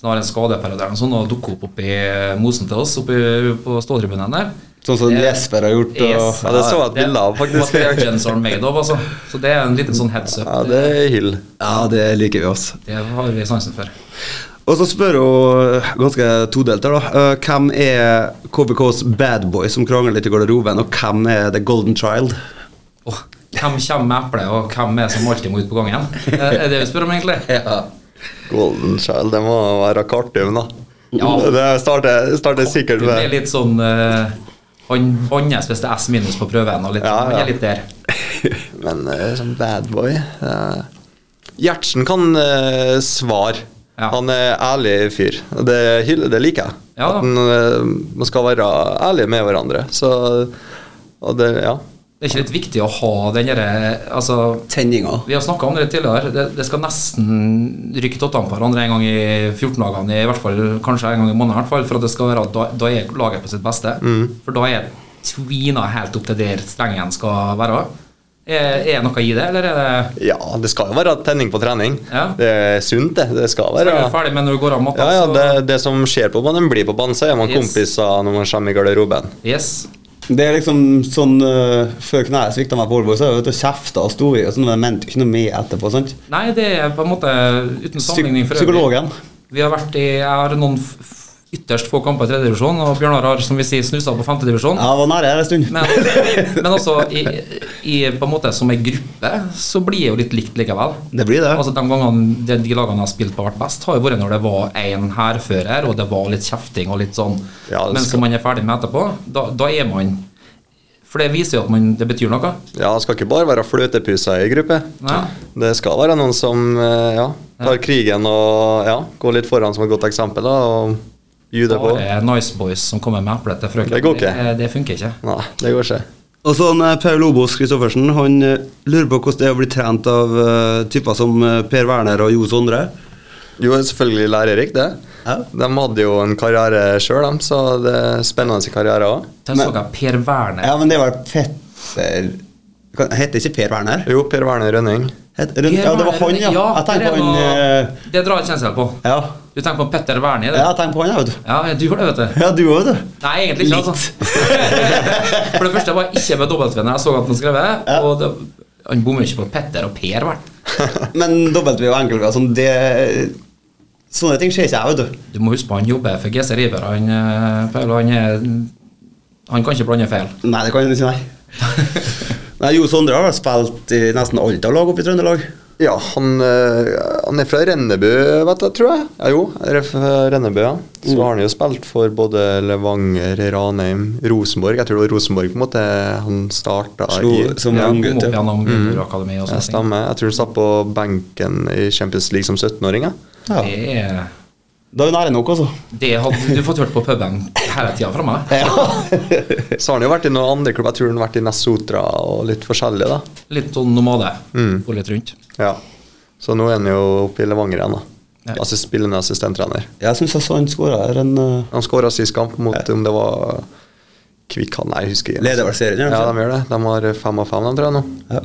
Hvis han har en skadeperiode eller noe sånt og dukker opp oppi eh, mosen til oss oppe i- på ståtribunen der Sånn som Det- Jesper har gjort. Og, Yes. Ja, det så jeg et Det- bilde av, faktisk. What legends are made of, altså. Så det er en liten sånn heads up. Ja, det er hyll. Ja, det liker vi også. Det har vi sansen for. Og så spør hun ganske todelt her, da. eh, Hvem er KBKs bad boy som krangler litt i garderoben, og hvem er the golden child? Åh, hvem kommer med eplet, og hvem er det som alltid må ut på gangen? Eh, Er det vi spør om, [LAUGHS] egentlig? Golden Child, det må være Kartum, da. Ja. Det starter, starter sikkert Du blir med litt sånn eh, Han bannes hvis det er S minus på prøven, og litt, Ja, han ja. er litt der. [LAUGHS] Men eh, som bad boy eh, Gjertsen kan eh, svare. Ja. Han er ærlig fyr. og Det, hyller- det liker jeg. Ja da. At en, eh, man skal være ærlig med hverandre. Så og det, ja. Det er ikke litt viktig å ha den derre Altså, Tenninga. vi har snakka om det tidligere. Det, det skal nesten rykke tottene på hverandre en gang i 14-dagene, i hvert fall kanskje en gang i måneden, i hvert fall, for at det skal være at da, da er laget på sitt beste. Mm. For da er tvina helt opp til der strengen skal være. Er, er noe i det, eller er det ja, det skal jo være tenning på trening. Ja. Det er sunt, det. Det skal Så være er du ferdig med når du går av matta, ja, ja, så- det, det som skjer på banen, blir på banen. Så er man Yes. kompiser når man kommer i garderoben. Yes. Det er liksom sånn eh, Før kneet svikta meg på Olbo, så har jeg vært og kjefta og sto i, og sånn, men jeg mente jo ikke noe med etterpå. sant? Nei, det er på en måte uten Psy- sammenligning for øvrig. Psykologen. Vi har vært i jeg har noen f- f- ytterst få kamper i tredjedivisjon, og Bjørnar har som vi sier snusa på femtedivisjon. Ja, jeg var nære her en stund. Men, men altså, i, i, på en måte som ei gruppe, så blir jeg jo litt likt likevel. Det blir det. Altså De gangene de, de lagene jeg har spilt på har vært best, har jo vært når det var én hærfører, og det var litt kjefting og litt sånn. Ja, det men skal- som man er ferdig med etterpå, da, da er man For det viser jo at man, det betyr noe. Ja, det skal ikke bare være fløtepuser i gruppe. Nei. Det skal være noen som eh, ja, tar krigen og ja, går litt foran som et godt eksempel da, og juder på. Bare nice boys som kommer med eple til frøken. Det går ikke. Det, det funker ikke. Nei, det går ikke. Og sånn eh, Paul Obos Christoffersen han eh, lurer på hvordan det er å bli trent av eh, typer som eh, Per Werner og Jo Sondre. Jo, selvfølgelig lærerikt, det. Ja. De hadde jo en karriere sjøl, så det er spennende karriere òg. Den så jeg Per Werner. Ja, men det var Petter Kan- Heter ikke Per Werner? Jo, Per Werner Rønning. [LAUGHS] Het, Rønn- ja, det var han, ja. Jeg det tenkte på han var- eh, Det drar jeg kjensel på. Ja, Du tenker på Petter Wernie? ja Ja. jeg tenkte på han, ja, vet du. ja, du gjorde det, vet du. Ja, du òg, vet du. Nei, egentlig ikke. altså For det første var jeg ikke med dobbeltvenner. Jeg så at han skrev det. Ja. Og det, han bommer ikke på Petter og Per, hvert. [LAUGHS] Men dobbelt-V og enkel-V og sånn, det Sånne ting skjer ikke jeg, vet du. Du må huske på han jobber for GC River. Han, eh, Paul, han, er, han kan ikke blande feil. Nei, det kan jeg ikke, nei. [LAUGHS] nei, Jo Sondre har vel spilt i nesten alt av lag oppe i Trøndelag. Ja, han, eh, han er fra Rennebu, vet jeg, tror jeg. Ja, jo, han er fra Rennebu, ja. Så har han jo spilt for både Levanger, Ranheim, Rosenborg. Jeg tror det var Rosenborg på en måte han starta Slo i. som Ja, ung kom gutt. opp ja. Mm. gjennom Gullbrand Akademi og Jeg sånne ting. stemmer. Jeg tror han satt på benken i Champions League som 17-åring. [LAUGHS] jeg. Ja. Det, er- Da er vi nære nok, altså. [LAUGHS] det hadde du fått hørt på puben hele tida fra meg. Så har han jo vært i noen andre klubber. Jeg tror han har vært i Nessotra og litt forskjellig, da. Litt sånn nomade. Mm. Gå litt rundt. Ja. Så nå er han jo oppe i Levanger igjen, da. Ja. Altså spillende assistenttrener. Jeg syns jeg så han skåra her en uh, Han skåra sist kamp mot om det var Kvikk han, nei, jeg husker ikke. Leder vel serien, gjør han Ja, ikke? de gjør det. De har fem av fem, de, tror jeg nå. ja.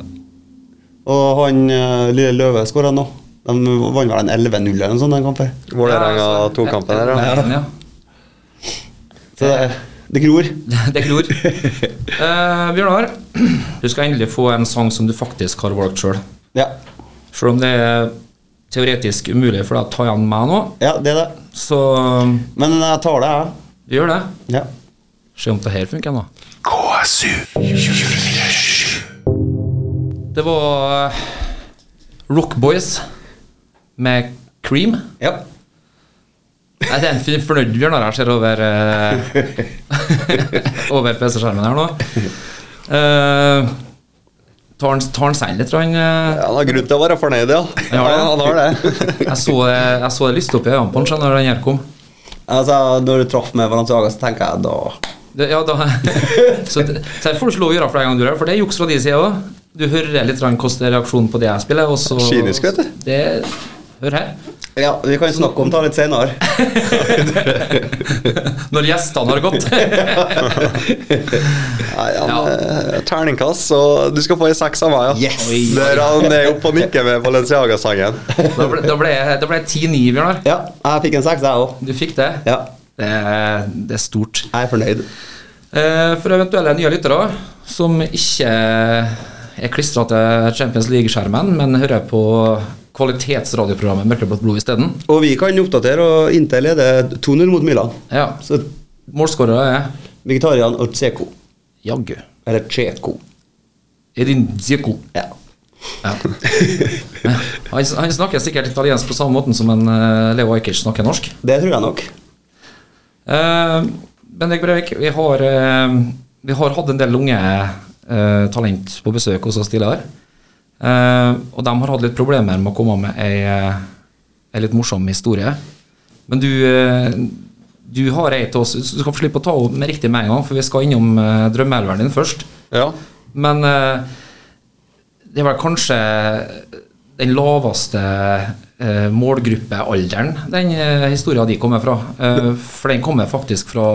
Og han eh, lille Løve skåra nå. De vant vel en 11-0 eller noe sånt den kampen. Vålerenga Ja, altså, to kampen der, et- ja. et- en, ja. Så det, det gror. Det glor. [LAUGHS] Eh, Bjørnar, du skal endelig få en sang som du faktisk har valgt sjøl. Ja. Sjøl om det er teoretisk umulig for deg å ta igjen meg nå, ja, det er det. så Men eh, jeg tar det, vi gjør det. jeg. Ja. Se om det her funker nå. KSU. Det var eh, Rock Boys med Cream. Ja. Nei, det er en fin fornøyd Bjørnar her ser over eh, [LAUGHS] Over PC-skjermen her nå. Eh, tar han tar han seg litt, tror han? eh, Ja, Han har grunn til å være fornøyd, ja. har det. han har det. eh, Jeg så, jeg så det lyste opp i øynene på han skjønner, når han her kom. [LAUGHS] Altså, når du traff med Balenciaga, så tenker jeg da Det, ja, da, [LAUGHS] så det, så det får du ikke lov å gjøre flere ganger, du her, for det er juks fra de sida òg. Du hører litt grann hvordan reaksjonen på det jeg spiller, og så Kynisk, vet du. Det, hør her. Ja, vi kan snakke om det litt [LAUGHS] senere. Når gjestene har [LAUGHS] gått. Nei, han, Ja. eh, Terningkast, så du skal få en seks av meg, ja. Yes! Der han er oppe og nikker med Balenciaga-sangen. Da ble, da ble, jeg- da ble jeg 10-9, Bjørnar. Ja, jeg fikk en seks, jeg òg. Du fikk det. Ja, Det, er- det er stort. jeg er fornøyd. Eh, For eventuelle nye lyttere som ikke er klistra til Champions League-skjermen, men hører på kvalitetsradioprogrammet Mørkeblått blod isteden. Og vi kan oppdatere, og Intel leder 2-0 mot Milan. Ja. Så Målskårere er vegetarian og Tseko. jaggu Eller Tsjeko. Edin Dzeko. Ja. Ja. Han, han snakker sikkert italiensk på samme måten som en eh, Leo Ajkic snakker norsk. Det tror jeg nok. Eh, Bendik Breivik, vi har, eh, vi har hatt en del unge eh, talent på besøk hos oss tidligere. Eh, og de har hatt litt problemer med å komme med ei, eh, ei litt morsom historie. Men du, eh, du har ei til oss. Du skal få slippe å ta opp med riktig med en gang, for vi skal innom eh, drømmeelveren din først. Ja. Men eh, det var kanskje den laveste eh, målgruppealderen den eh, historia di kommer fra. Eh, for den kommer faktisk fra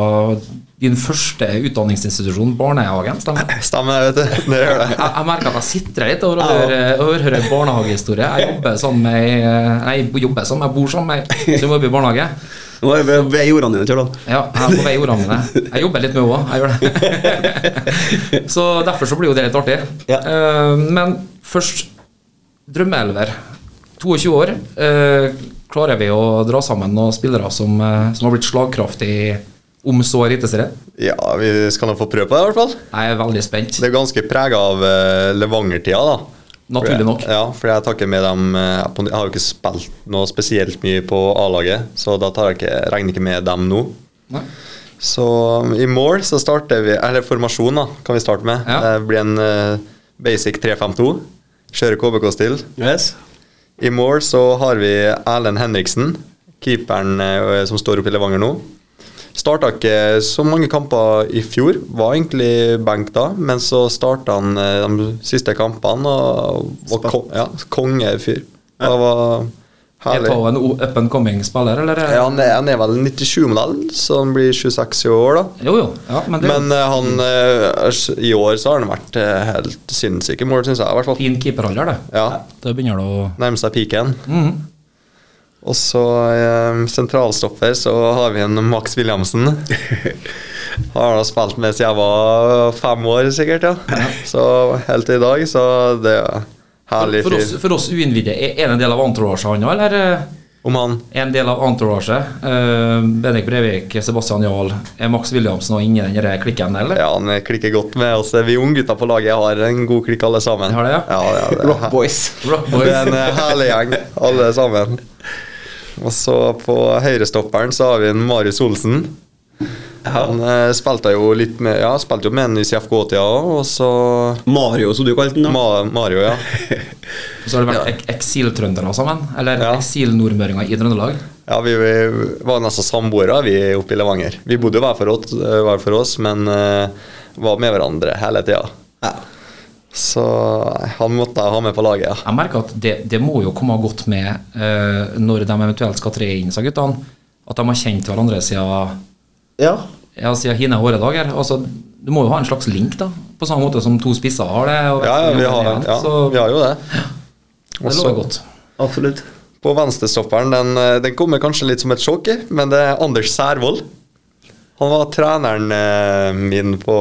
din første utdanningsinstitusjon, barnehagen. Stemmer det? Stemmer det, vet du. Det gjør det. Jeg, jeg merker at jeg sitrer litt over å høre, å høre en barnehagehistorie. Jeg jobber sammen med ei- Nei, jeg jobber sammen, jeg bor sammen med ei som jobber i barnehage. Nå er vi vi er i ordene dine, Kjørland. Ja, jeg er på vei i ordene mine. Jeg jobber litt med òg, jeg gjør [LAUGHS] det. Så derfor så blir jo det litt artig. Ja. Eh, Men først Drømmeelver. 22 år. Eh, Klarer vi å dra sammen noen spillere som, eh, som har blitt slagkraftige om så eliteserien? Ja, vi skal nå få prøve på det, i hvert fall. Jeg er veldig spent. Det er ganske prega av eh, Levanger-tida, da. Naturlig nok. Ja, for jeg tar ikke med dem eh, Jeg på- jeg har jo ikke spilt noe spesielt mye på A-laget, så da tar jeg ikke, regner ikke med dem nå. Nei. Så um, i mål så starter vi Eller formasjon, da, kan vi starte med. Ja. Det blir en eh, basic 3-5-2. Kjører KBK-stil. Yes. I mål så har vi Erlend Henriksen, keeperen eh, som står oppe i Levanger nå. Starta ikke så mange kamper i fjor, var egentlig benk da, men så starta han eh, de siste kampene og var ko ja, kongefyr. Det var Er herlig. Tao en o- up and coming spiller, eller? er- Ja, han, er, han er vel 97-modell, så han blir 26 i år, da. Jo, jo. Ja, men det er jo Men eh, han, eh, i år så har han vært eh, helt sinnssyke mål, syns jeg. I hvert fall. fin keeperalder, det. Ja, Da begynner det å Nærmer seg piken. Mm. Og så eh, sentralstopper så har vi en Max Williamsen. Har da spilt med siden jeg var fem år, sikkert. ja. Så helt til i dag, så det er herlig For oss, fyr. for oss uinnvidde, er er det en del av entouraget han òg, eller? eh? Om han en del av entouraget. Uh, Bendik Brevik, Sebastian Jahl. Er Max Williamsen også inne i den der klikken, eller? ja, han klikker godt med oss. Vi unggutta på laget har en god klikk, alle sammen. Har det, ja? Ja, ja, det Rock Boys. Rock Det Boys. er en eh, herlig gjeng, alle sammen. Og så på høyrestopperen så har vi en Marius Olsen. Han eh, spilte jo litt med Ja, spilte jo med en i CFK-tida òg, og så Mario, som du kalte den. da. Ma Mario, ja. Så har det vært ek eksiltrøndere sammen. Eller Ja. eksilnordmøringer i Trøndelag. ja vi, vi var nesten samboere, vi oppe i Levanger. Vi bodde jo hver for oss, hver for oss men eh, var med hverandre hele tida. Ja. Så nei, han måtte jeg ha med på laget, ja. Jeg merker at det, det må jo komme godt med eh, når de eventuelt skal tre inn, sa guttene. At de har kjent hverandre siden, ja. ja, siden hine håredager. Altså, du må jo ha en slags link, da. På samme måte som to spisser har det. og Ja, ja, vi har, igjen, ja, Så vi har jo det. det Også- lover godt. Absolutt. På venstrestopperen, den, eh, den kommer kanskje litt som et sjokk, eh, men det er Anders Særvold. Han var treneren eh, min på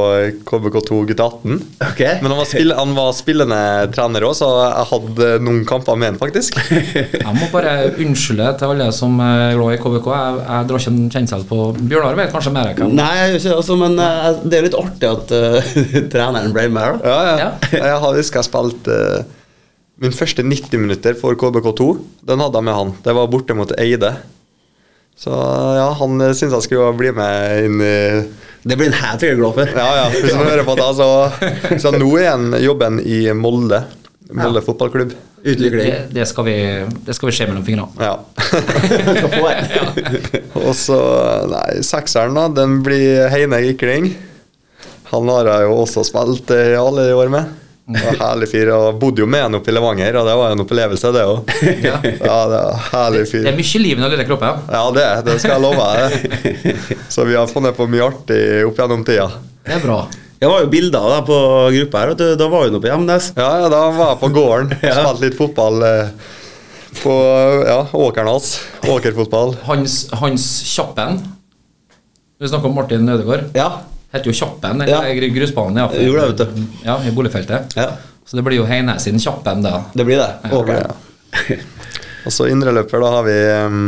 KBK2 gutt 18. Ok. Men han var, spill, han var spillende trener òg, så jeg hadde noen kamper med han, faktisk. Jeg må bare unnskylde til alle som er glad i KBK. Jeg, jeg drar ikke en kjensel på Bjørnar vet kanskje mer enn Nei, jeg gjør ikke det, altså, men eh, det er jo litt artig at eh, [LAUGHS] treneren ble med her, da. Ja, ja. Ja. Jeg har- husker jeg spilte eh, min første 90 minutter for KBK2. Den hadde jeg med han. Det var borte mot Eide. Så ja, han eh, syntes jeg skulle bli med inn i Det blir han helt sikkert glad for. Ja, ja. Hvis han hører på det, så, så nå er han jobben i Molde. Mølle fotballklubb. Utvikling. Det, det, skal vi, det skal vi se mellom fingrene. Ja. [LAUGHS] Skal få det. Og så, nei, sekseren da, den blir Heine Gikling. Han har jeg jo også spilt eh, alle de år med. Det var Herlig fyr. og Bodde jo med han oppe i Levanger, og det var jo en opplevelse, det òg. Ja, det var herlig fyr. Det er mye liv i den lille kroppen. Ja, det, det skal jeg love deg. Så vi har funnet på mye artig opp gjennom tida. Det er bra. Jeg var jo bilder av deg på gruppa her, og du- da var hun oppe i Hemnes. Ja, ja, da var jeg på [LAUGHS] gården. Spilte litt fotball eh, på ja, åkeren hans. Åkerfotball. Hans, Hans Kjappen Vi snakker om Martin Nødegård. Ja. Heter jo Kjappen, Ja. eller ja. grusbanen i Afrika. Gjorde det, vet du. Ja, i boligfeltet. Ja. Så det blir jo Heine sin Kjappen, da. Det blir det. Åkeren. Og så indreløper, da har vi em,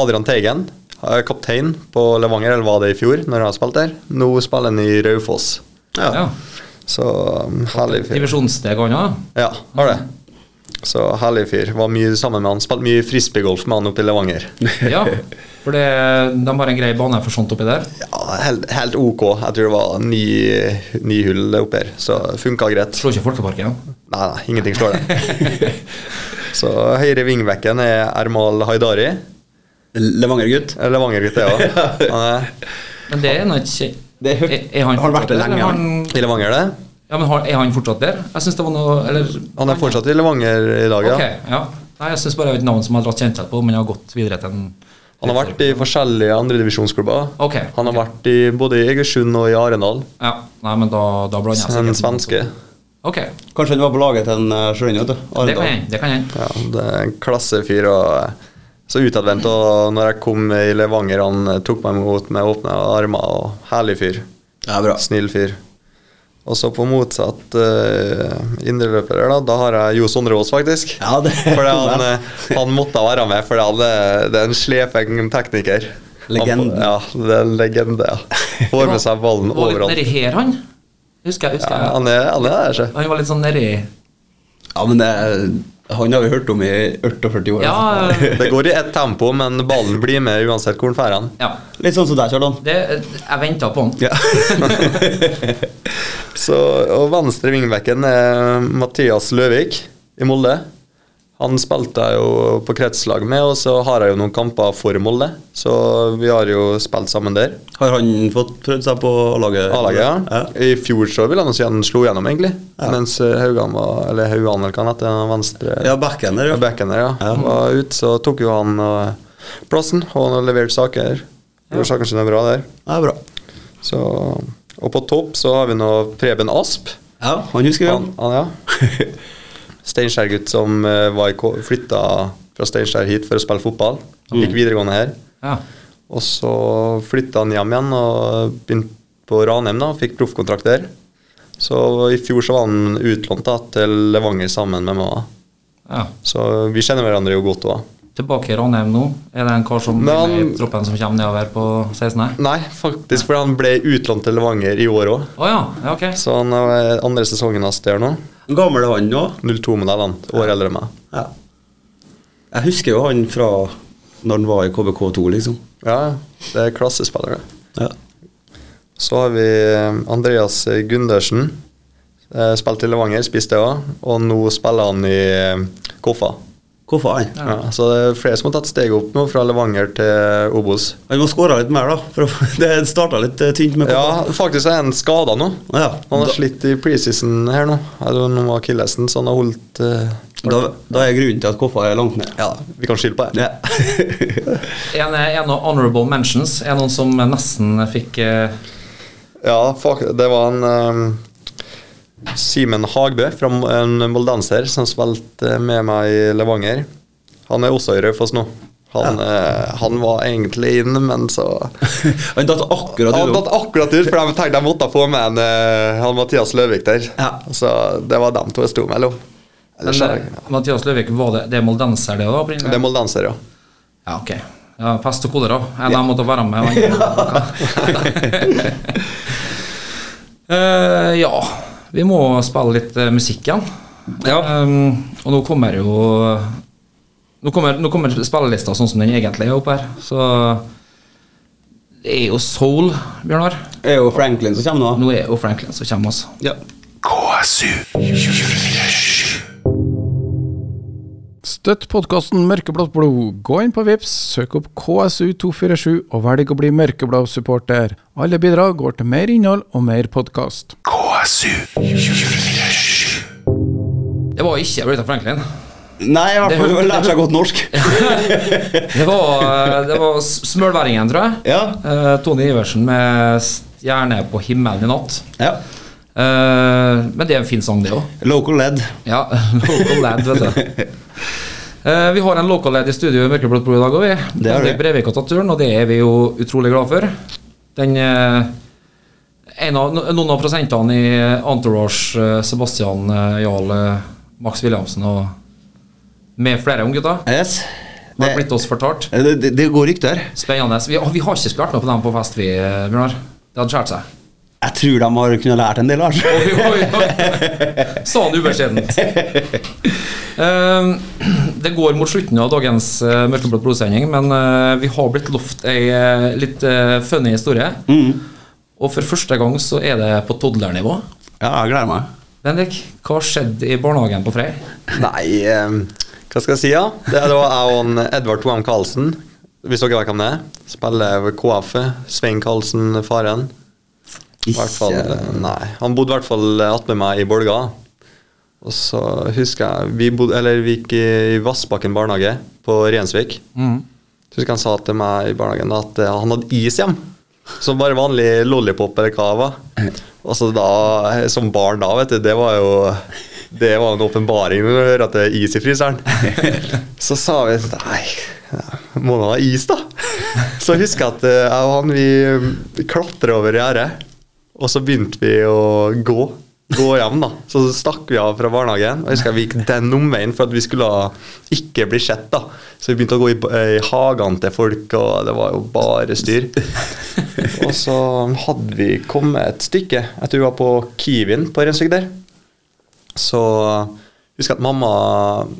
Adrian Teigen. eh, Kaptein på Levanger, eller var det i fjor, når han spilte der. Nå spiller han i Raufoss. Ja. Så em, herlig fyr. Divisjonssteg han òg. Ja, har det. Så herlig fyr. Var mye sammen med han. Spilte mye frisbeegolf med han oppe i Levanger. [LAUGHS] Ja, for det, de har en grei bane for sånt oppi der. Ja, helt, helt ok. Jeg tror det var ni, ni hull oppe her, så funka greit. Slår ikke Folkeparken. Nei, nei, ingenting slår det. [LAUGHS] Så høyre vingbekken er Ermal Haidari. Levanger-gutt. Levanger-gutt, det òg. Han er Men det er nå ikke Det er høyt. Har vært det fortsatt lenge, der? ja. Han, i Levanger, det. ja, men har, er han fortsatt der? Jeg syns det var noe Eller Han er fortsatt i Levanger i dag, ja. Ok, ja. Nei, jeg syns bare det er et navn som jeg har dratt kjennskap på, men jeg har gått videre til en Han har vært i forskjellige andredivisjonsklubber. Ok. Han har vært i både i Egersund og i Arendal. Ja, nei, men da, da blander jeg En sikkert. svenske. Ok, Kanskje han var på laget til en, eh, Sjørin, vet du. det kan Arendal. hende. Det kan hende. Ja, det er en klassefyr og eh, så utadvendt. Og når jeg kom i Levanger, han eh, tok meg imot med åpne armer. og Herlig fyr. Ja, bra. Snill fyr. Og så på motsatt uh, indreløper her, da, da har jeg Jo Sondre Aas, faktisk. Ja, det- [LAUGHS] Fordi han, eh, han måtte være med, for det er- det er en slefeng tekniker. Legenden. Han, ja, det er en legende. ja. Får med seg ballen Han var litt overalt. nedi her, han. Husker jeg. husker Ja, jeg. han er, han er der, ikke? Han var litt sånn nedi Ja, men det, han har vi hørt om i 48 år. Ja, altså. eh, Det går i ett tempo, men ballen blir med uansett hvor han drar hen. ja. Litt sånn som deg, Kjartan. Det, jeg venta på han. Ja. Så, og venstre vingbekken er Mathias Løvik i Molde. Han spilte jeg jo på kretslag med, og så har jeg jo noen kamper for Molde. Så vi har jo spilt sammen der. Har han fått prøvd seg på A-laget? A-laget, ja. I fjor så ville han si han slo gjennom, egentlig. Mens eh, Haugan var Eller Haugan, eller hva han heter, den venstre Ja, backen der, ja. ja, bekken der, ja. Var ut, så tok jo han eh, plassen, og han har levert saker. Gjorde sakene sine bra der. Ja, bra. Så, og på topp så har vi nå Preben Asp. Ja, han husker vi. Han, Han. han ja. [LAUGHS] Steinkjer-gutt som eh, var i K- flytta fra Steinkjer hit for å spille fotball. Han gikk videregående her. Ja. Og så flytta han hjem igjen og begynte på Ranheim da, og fikk proffkontrakt der. Så i fjor så var han utlånt da, til Levanger sammen med meg. ja. Så vi kjenner hverandre jo godt òg. Tilbake i Ranheim nå. Er det en kar som Men blir med han- i troppen som kommer nedover på 16 her? Nei, faktisk, for han ble utlånt til Levanger i år òg. Å ja. ja, ok. Så han er andre sesongen hans der nå. Gammel er han nå. 02-modellen. År eldre enn meg. Ja. Jeg husker jo han fra når han var i KBK2, liksom. Ja, det er klassespiller, det. Ja. Så har vi eh, Andreas Gundersen. Eh, Spilt i Levanger, spiste òg. Og nå spiller han i eh, Koffa. Hvorfor han? Ja. så det er flere som har tatt steget opp nå, fra Levanger til Obos. Han må skåre litt mer, da. For å- [LAUGHS] det starta litt eh, tynt med Koffa. Ja, faktisk er han skada nå. Ja, Han har da- slitt i preseason her nå. Eller noe akillesen, så han har holdt eh, Da, da er grunnen til at Koffa er langt ned. Ja, vi kan skylde på det. Ja. En, eh, en av honorable mentions er noen som nesten fikk eh, Ja, fuck, det var en ehm, Simen Hagbø, fra M- en moldenser, som spilte med meg i Levanger. Han er også i Raufoss nå. Han, eh, han var egentlig inne, men så [LAUGHS] han datt akkurat Han ut. datt [LAUGHS] akkurat ut, for de tenkte de måtte få med en, eh, han Mathias Løvik der. Ja. Så det var dem to jeg sto mellom. Ellers, men, er eh, det- Mathias Løvik, var det, det er moldenser, det òg? det er moldenser, ja. Ja, ok. Ja, pest og kolera. En av dem måtte være [LAUGHS] med. og en av dem måtte- [LAUGHS] Eh, ja, vi må spille litt eh, musikk igjen. Ehm, og nå kommer jo Nå kommer, nå kommer spillelista sånn som den egentlig er oppe her. Så det er jo soul, Bjørnar. Det er jo Franklin som kommer nå. Nå er jo Franklin som kommer, altså. Ja. KSU 24 Støtt podkasten Mørkeblått blod. Gå inn på Vips, søk opp KSU247 og velg å bli mørkeblå supporter. Alle bidrag går til mer innhold og mer podkast. Det var ikke Rita Franklin. Nei, i hvert Det- fall lærte seg godt norsk. [LAUGHS] Det var, eh, det var s- Smølværingen, tror jeg. Ja. Eh, Tony Iversen med 'Stjerne på himmelen i natt'. Ja. Eh, men det er en fin sang, det òg. Local led. Ja, [LAUGHS] local lad, vet du. Eh, vi har en local lad i studio i Mørkeblått blod i dag òg, vi. Det har vi. Bendik Brevik har tatt turen, og det er vi jo utrolig glad for. Den eh, en av, no- Noen av prosentene i Entourage, eh, Sebastian eh, Jarl, eh, Max Williamsen og med flere om gutta, Yes. har Det, blitt oss fortalt. det, det, det går rykter. Spennende. Vi, vi har ikke vært med på dem på fest, vi, eh, Bjørnar. Det hadde skåret seg. [LAUGHS] Jeg tror de har kunnet lært en del, altså. Oi, oi, oi. Sa han ubeskjedent. Ehm, Det går mot slutten av dagens eh, mørkeblått blodsending, men eh, vi har blitt lovt ei eh, litt eh, funny historie. Mm. Og for første gang så er det på toddlernivå. Ja, jeg gleder meg. Bendik, hva skjedde i barnehagen på Frei? Nei, eh, hva skal jeg si, ja? Det er da jeg og han Edvard Toam Karlsen, hvis dere vet hvem det er, spiller ved KF. Svein Karlsen, faren. I hvert fall, nei, han bodde i hvert fall attmed meg i Bolga. Og så husker jeg Vi, bodde, eller, vi gikk i Vassbakken barnehage på Rensvik. Så husker jeg han sa til meg i barnehagen at eh, han hadde is hjem. Som bare vanlig lollipop eller hva det var. Og så da, som barn da, vet du, det var jo Det var en åpenbaring når du hører at det er is i fryseren. Så sa vi nei, må nå ha is, da. Så husker jeg at eh, jeg og han vi klatra over gjerdet, og så begynte vi å gå. Gå hjem, da. Så stakk vi av fra barnehagen. Og jeg husker jeg vi gikk den omveien for at vi skulle ikke bli sett. da Så vi begynte å gå i, ba- i hagene til folk, og det var jo bare styr. Og så hadde vi kommet et stykke. Jeg tror vi var på Kiwien på Rensvik der. Så husker jeg at mamma,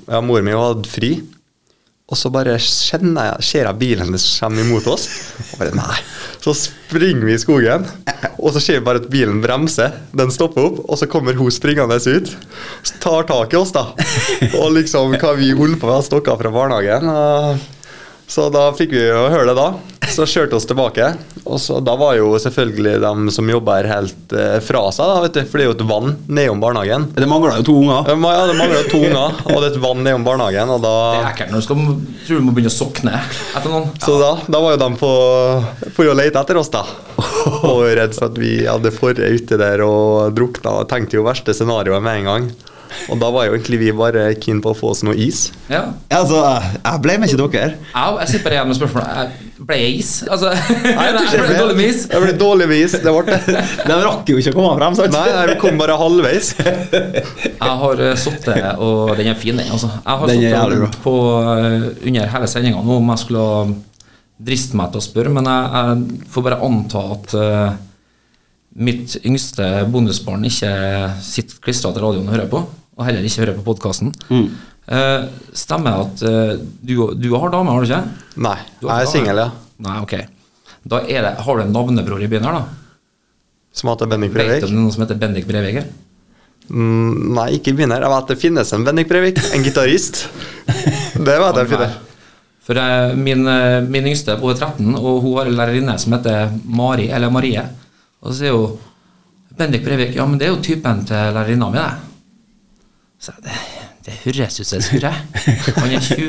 ja, moren min hadde fri. Og så bare kjenner jeg, ser jeg bilen hennes komme imot oss. Og bare, nei. Så springer vi i skogen, og så ser vi bare at bilen bremser. Den stopper opp, og så kommer hun springende ut. så Tar tak i oss, da. Og liksom hva vi holdt på med, og stokka fra barnehagen. og- Så da fikk vi jo høre det, da. Så kjørte oss tilbake. Og så, da var jo selvfølgelig de som jobber her, helt eh, fra seg, da, vet du. For det er jo et vann nedom barnehagen. Det mangler jo to unger. Ja, ma- ja, det mangler jo to unger, og det er et vann nedom barnehagen, og da Det er ekkelt når du skal, tror du må begynne å sokne etter noen. Så da, da var jo de på, på å lete etter oss, [LAUGHS] da. Og redd for at vi hadde forret ute der og drukna. og Tenkte jo verste scenarioet med en gang. Og da var jo egentlig vi bare keen på å få oss noe is. Ja. Altså, jeg ble med ikke dere. Au, jeg sitter bare igjen med spørsmålet. Jeg- Ble jeg is? Altså, [LAUGHS] jeg ble dårlig med is. Jeg ble dårlig med is, det ble det. [LAUGHS] De rakk jo ikke å komme frem, sant? Nei, nei, vi kom bare halvveis. Jeg har eh, sittet og Den er fin, den. altså. Jeg har Den er sittet og jævlig bra. lurt på eh, under hele sendinga nå om jeg skulle driste meg til å spørre, men jeg, jeg får bare anta at eh, mitt yngste bonusbarn ikke sitter klistra til radioen og hører på, og heller ikke hører på podkasten. stemmer det at eh, du, du har dame, har du ikke? Nei, Du har jeg er dame? singel, ja. Nei, ok. Da er det, har du en navnebror i byen her, da? Som heter Bendik Vet du Brevik. om det er noen som heter Bendik Brevik her? Mm, Nei, ikke begynner. Jeg vet det finnes en Bendik Brevik. En gitarist. Det vet jeg finnes. For eh, min, eh, min yngste hun er 13, og hun har en lærerinne som heter Mari, eller Marie. Og så sier hun Bendik Breivik, ja, men det er jo typen til lærerinna mi, det. Så jeg, det, det høres ut som en skurre. Han er 20,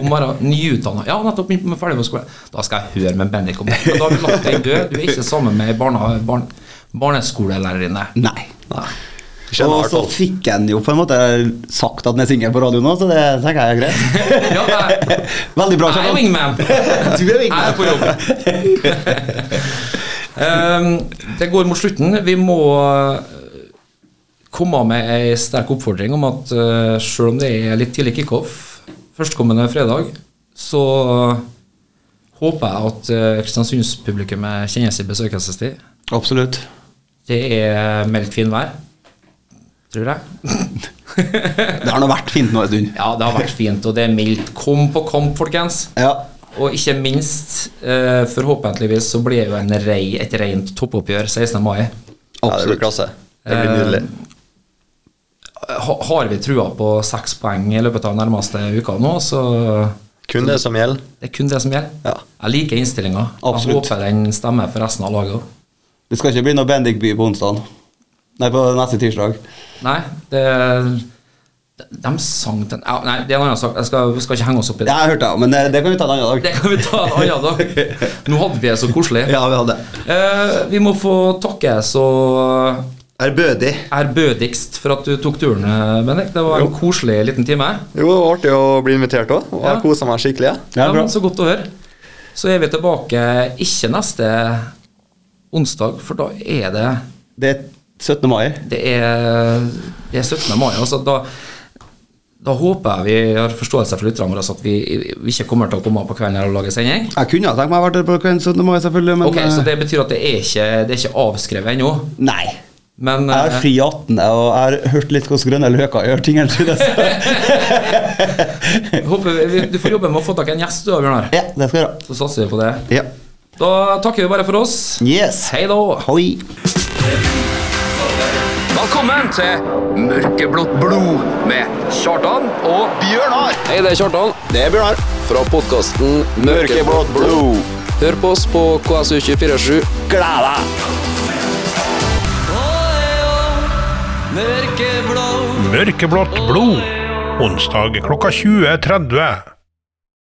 og bare nyutdanna. Ja, nettopp begynt med ferdig på skolen. Da skal jeg høre med Bendik om det. Men da har vi lagt deg død. Du er ikke sammen med ei barne, barn, barneskolelærerinne. Nei. Skjønner Og i hvert så fall. fikk han jo på en måte sagt at han er singel på radioen nå, så det tenker jeg er greit. [LAUGHS] Ja, jeg, [LAUGHS] Veldig bra. jeg er Kjartan. wingman. Du er Jeg er wingman. på jobb. Ehm, det går mot slutten. Vi må eh, komme med ei sterk oppfordring om at eh, selv om det er litt tidlig kickoff førstkommende fredag, så eh, håper jeg at eh, Kristiansunds-publikummet kjenner sin besøkelsestid. Absolutt. Det er meldt finvær, tror jeg. Det har nå vært fint nå en stund. [LAUGHS] Ja, det har vært fint, og det er mildt. Kom på kamp, folkens. Ja. Og ikke minst, eh, forhåpentligvis så blir det jo en rei, et rent toppoppgjør 16. mai. Eh, Ja, det blir klasse. Det blir nydelig. Eh, ha- har vi trua på seks poeng i løpet av nærmeste uka nå, så Kun det som gjelder. det er kun det som gjelder. Ja. Jeg liker innstillinga. Jeg Absolutt. håper den stemmer for resten av laget òg. Det skal ikke bli noe Bendik-by på onsdag. Nei, på neste tirsdag. Nei, det de, de sang den ja, Nei, det er en annen sak. Jeg skal, skal ikke henge oss opp i det. Ja, jeg hørte det, men eh, det kan vi ta en [LAUGHS] annen Det dag. kan vi ta en annen [LAUGHS] dag. Nå hadde vi det så koselig. Ja, vi hadde Eh, vi må få takke så Ærbødig. ærbødigst for at du tok turen, eh, Bendik. Det var en koselig liten time. Jo, det var artig å bli invitert òg. Og Ja. jeg kosa meg skikkelig. jeg. Ja, Ja, bra. men Så godt å høre. Så er vi tilbake ikke neste onsdag, for da er det Det er 17. mai. Det er, det er 17. mai. Altså, da, da håper jeg vi har forståelse for lytterne våre så at vi, vi ikke kommer til å komme på kvelden her og lage sending. Jeg kunne ha tenkt meg å vært der på kvelden 17. mai, selvfølgelig, men Ok, eh, Så det betyr at det er ikke, det er ikke avskrevet ennå. Nei. Men Jeg har eh, fri 18., og jeg har hørt litt hvordan grønne løker gjør tingene sine. [LAUGHS] så- [LAUGHS] jeg håper vi- vi, du får jobbe med å få tak i en gjest, du, Bjørnar. Ja, det skal jeg gjøre. Så satser vi på det. Ja. Da takker vi bare for oss. Yes. Hei da. Hoi. Velkommen til Mørkeblått blod med Kjartan og Bjørnar. Hei, det er Kjartan. Det er Bjørnar. Fra podkasten Mørkeblått blod. Hør på oss på KSU247. Mørkeblått blod. Onsdag klokka 20.30.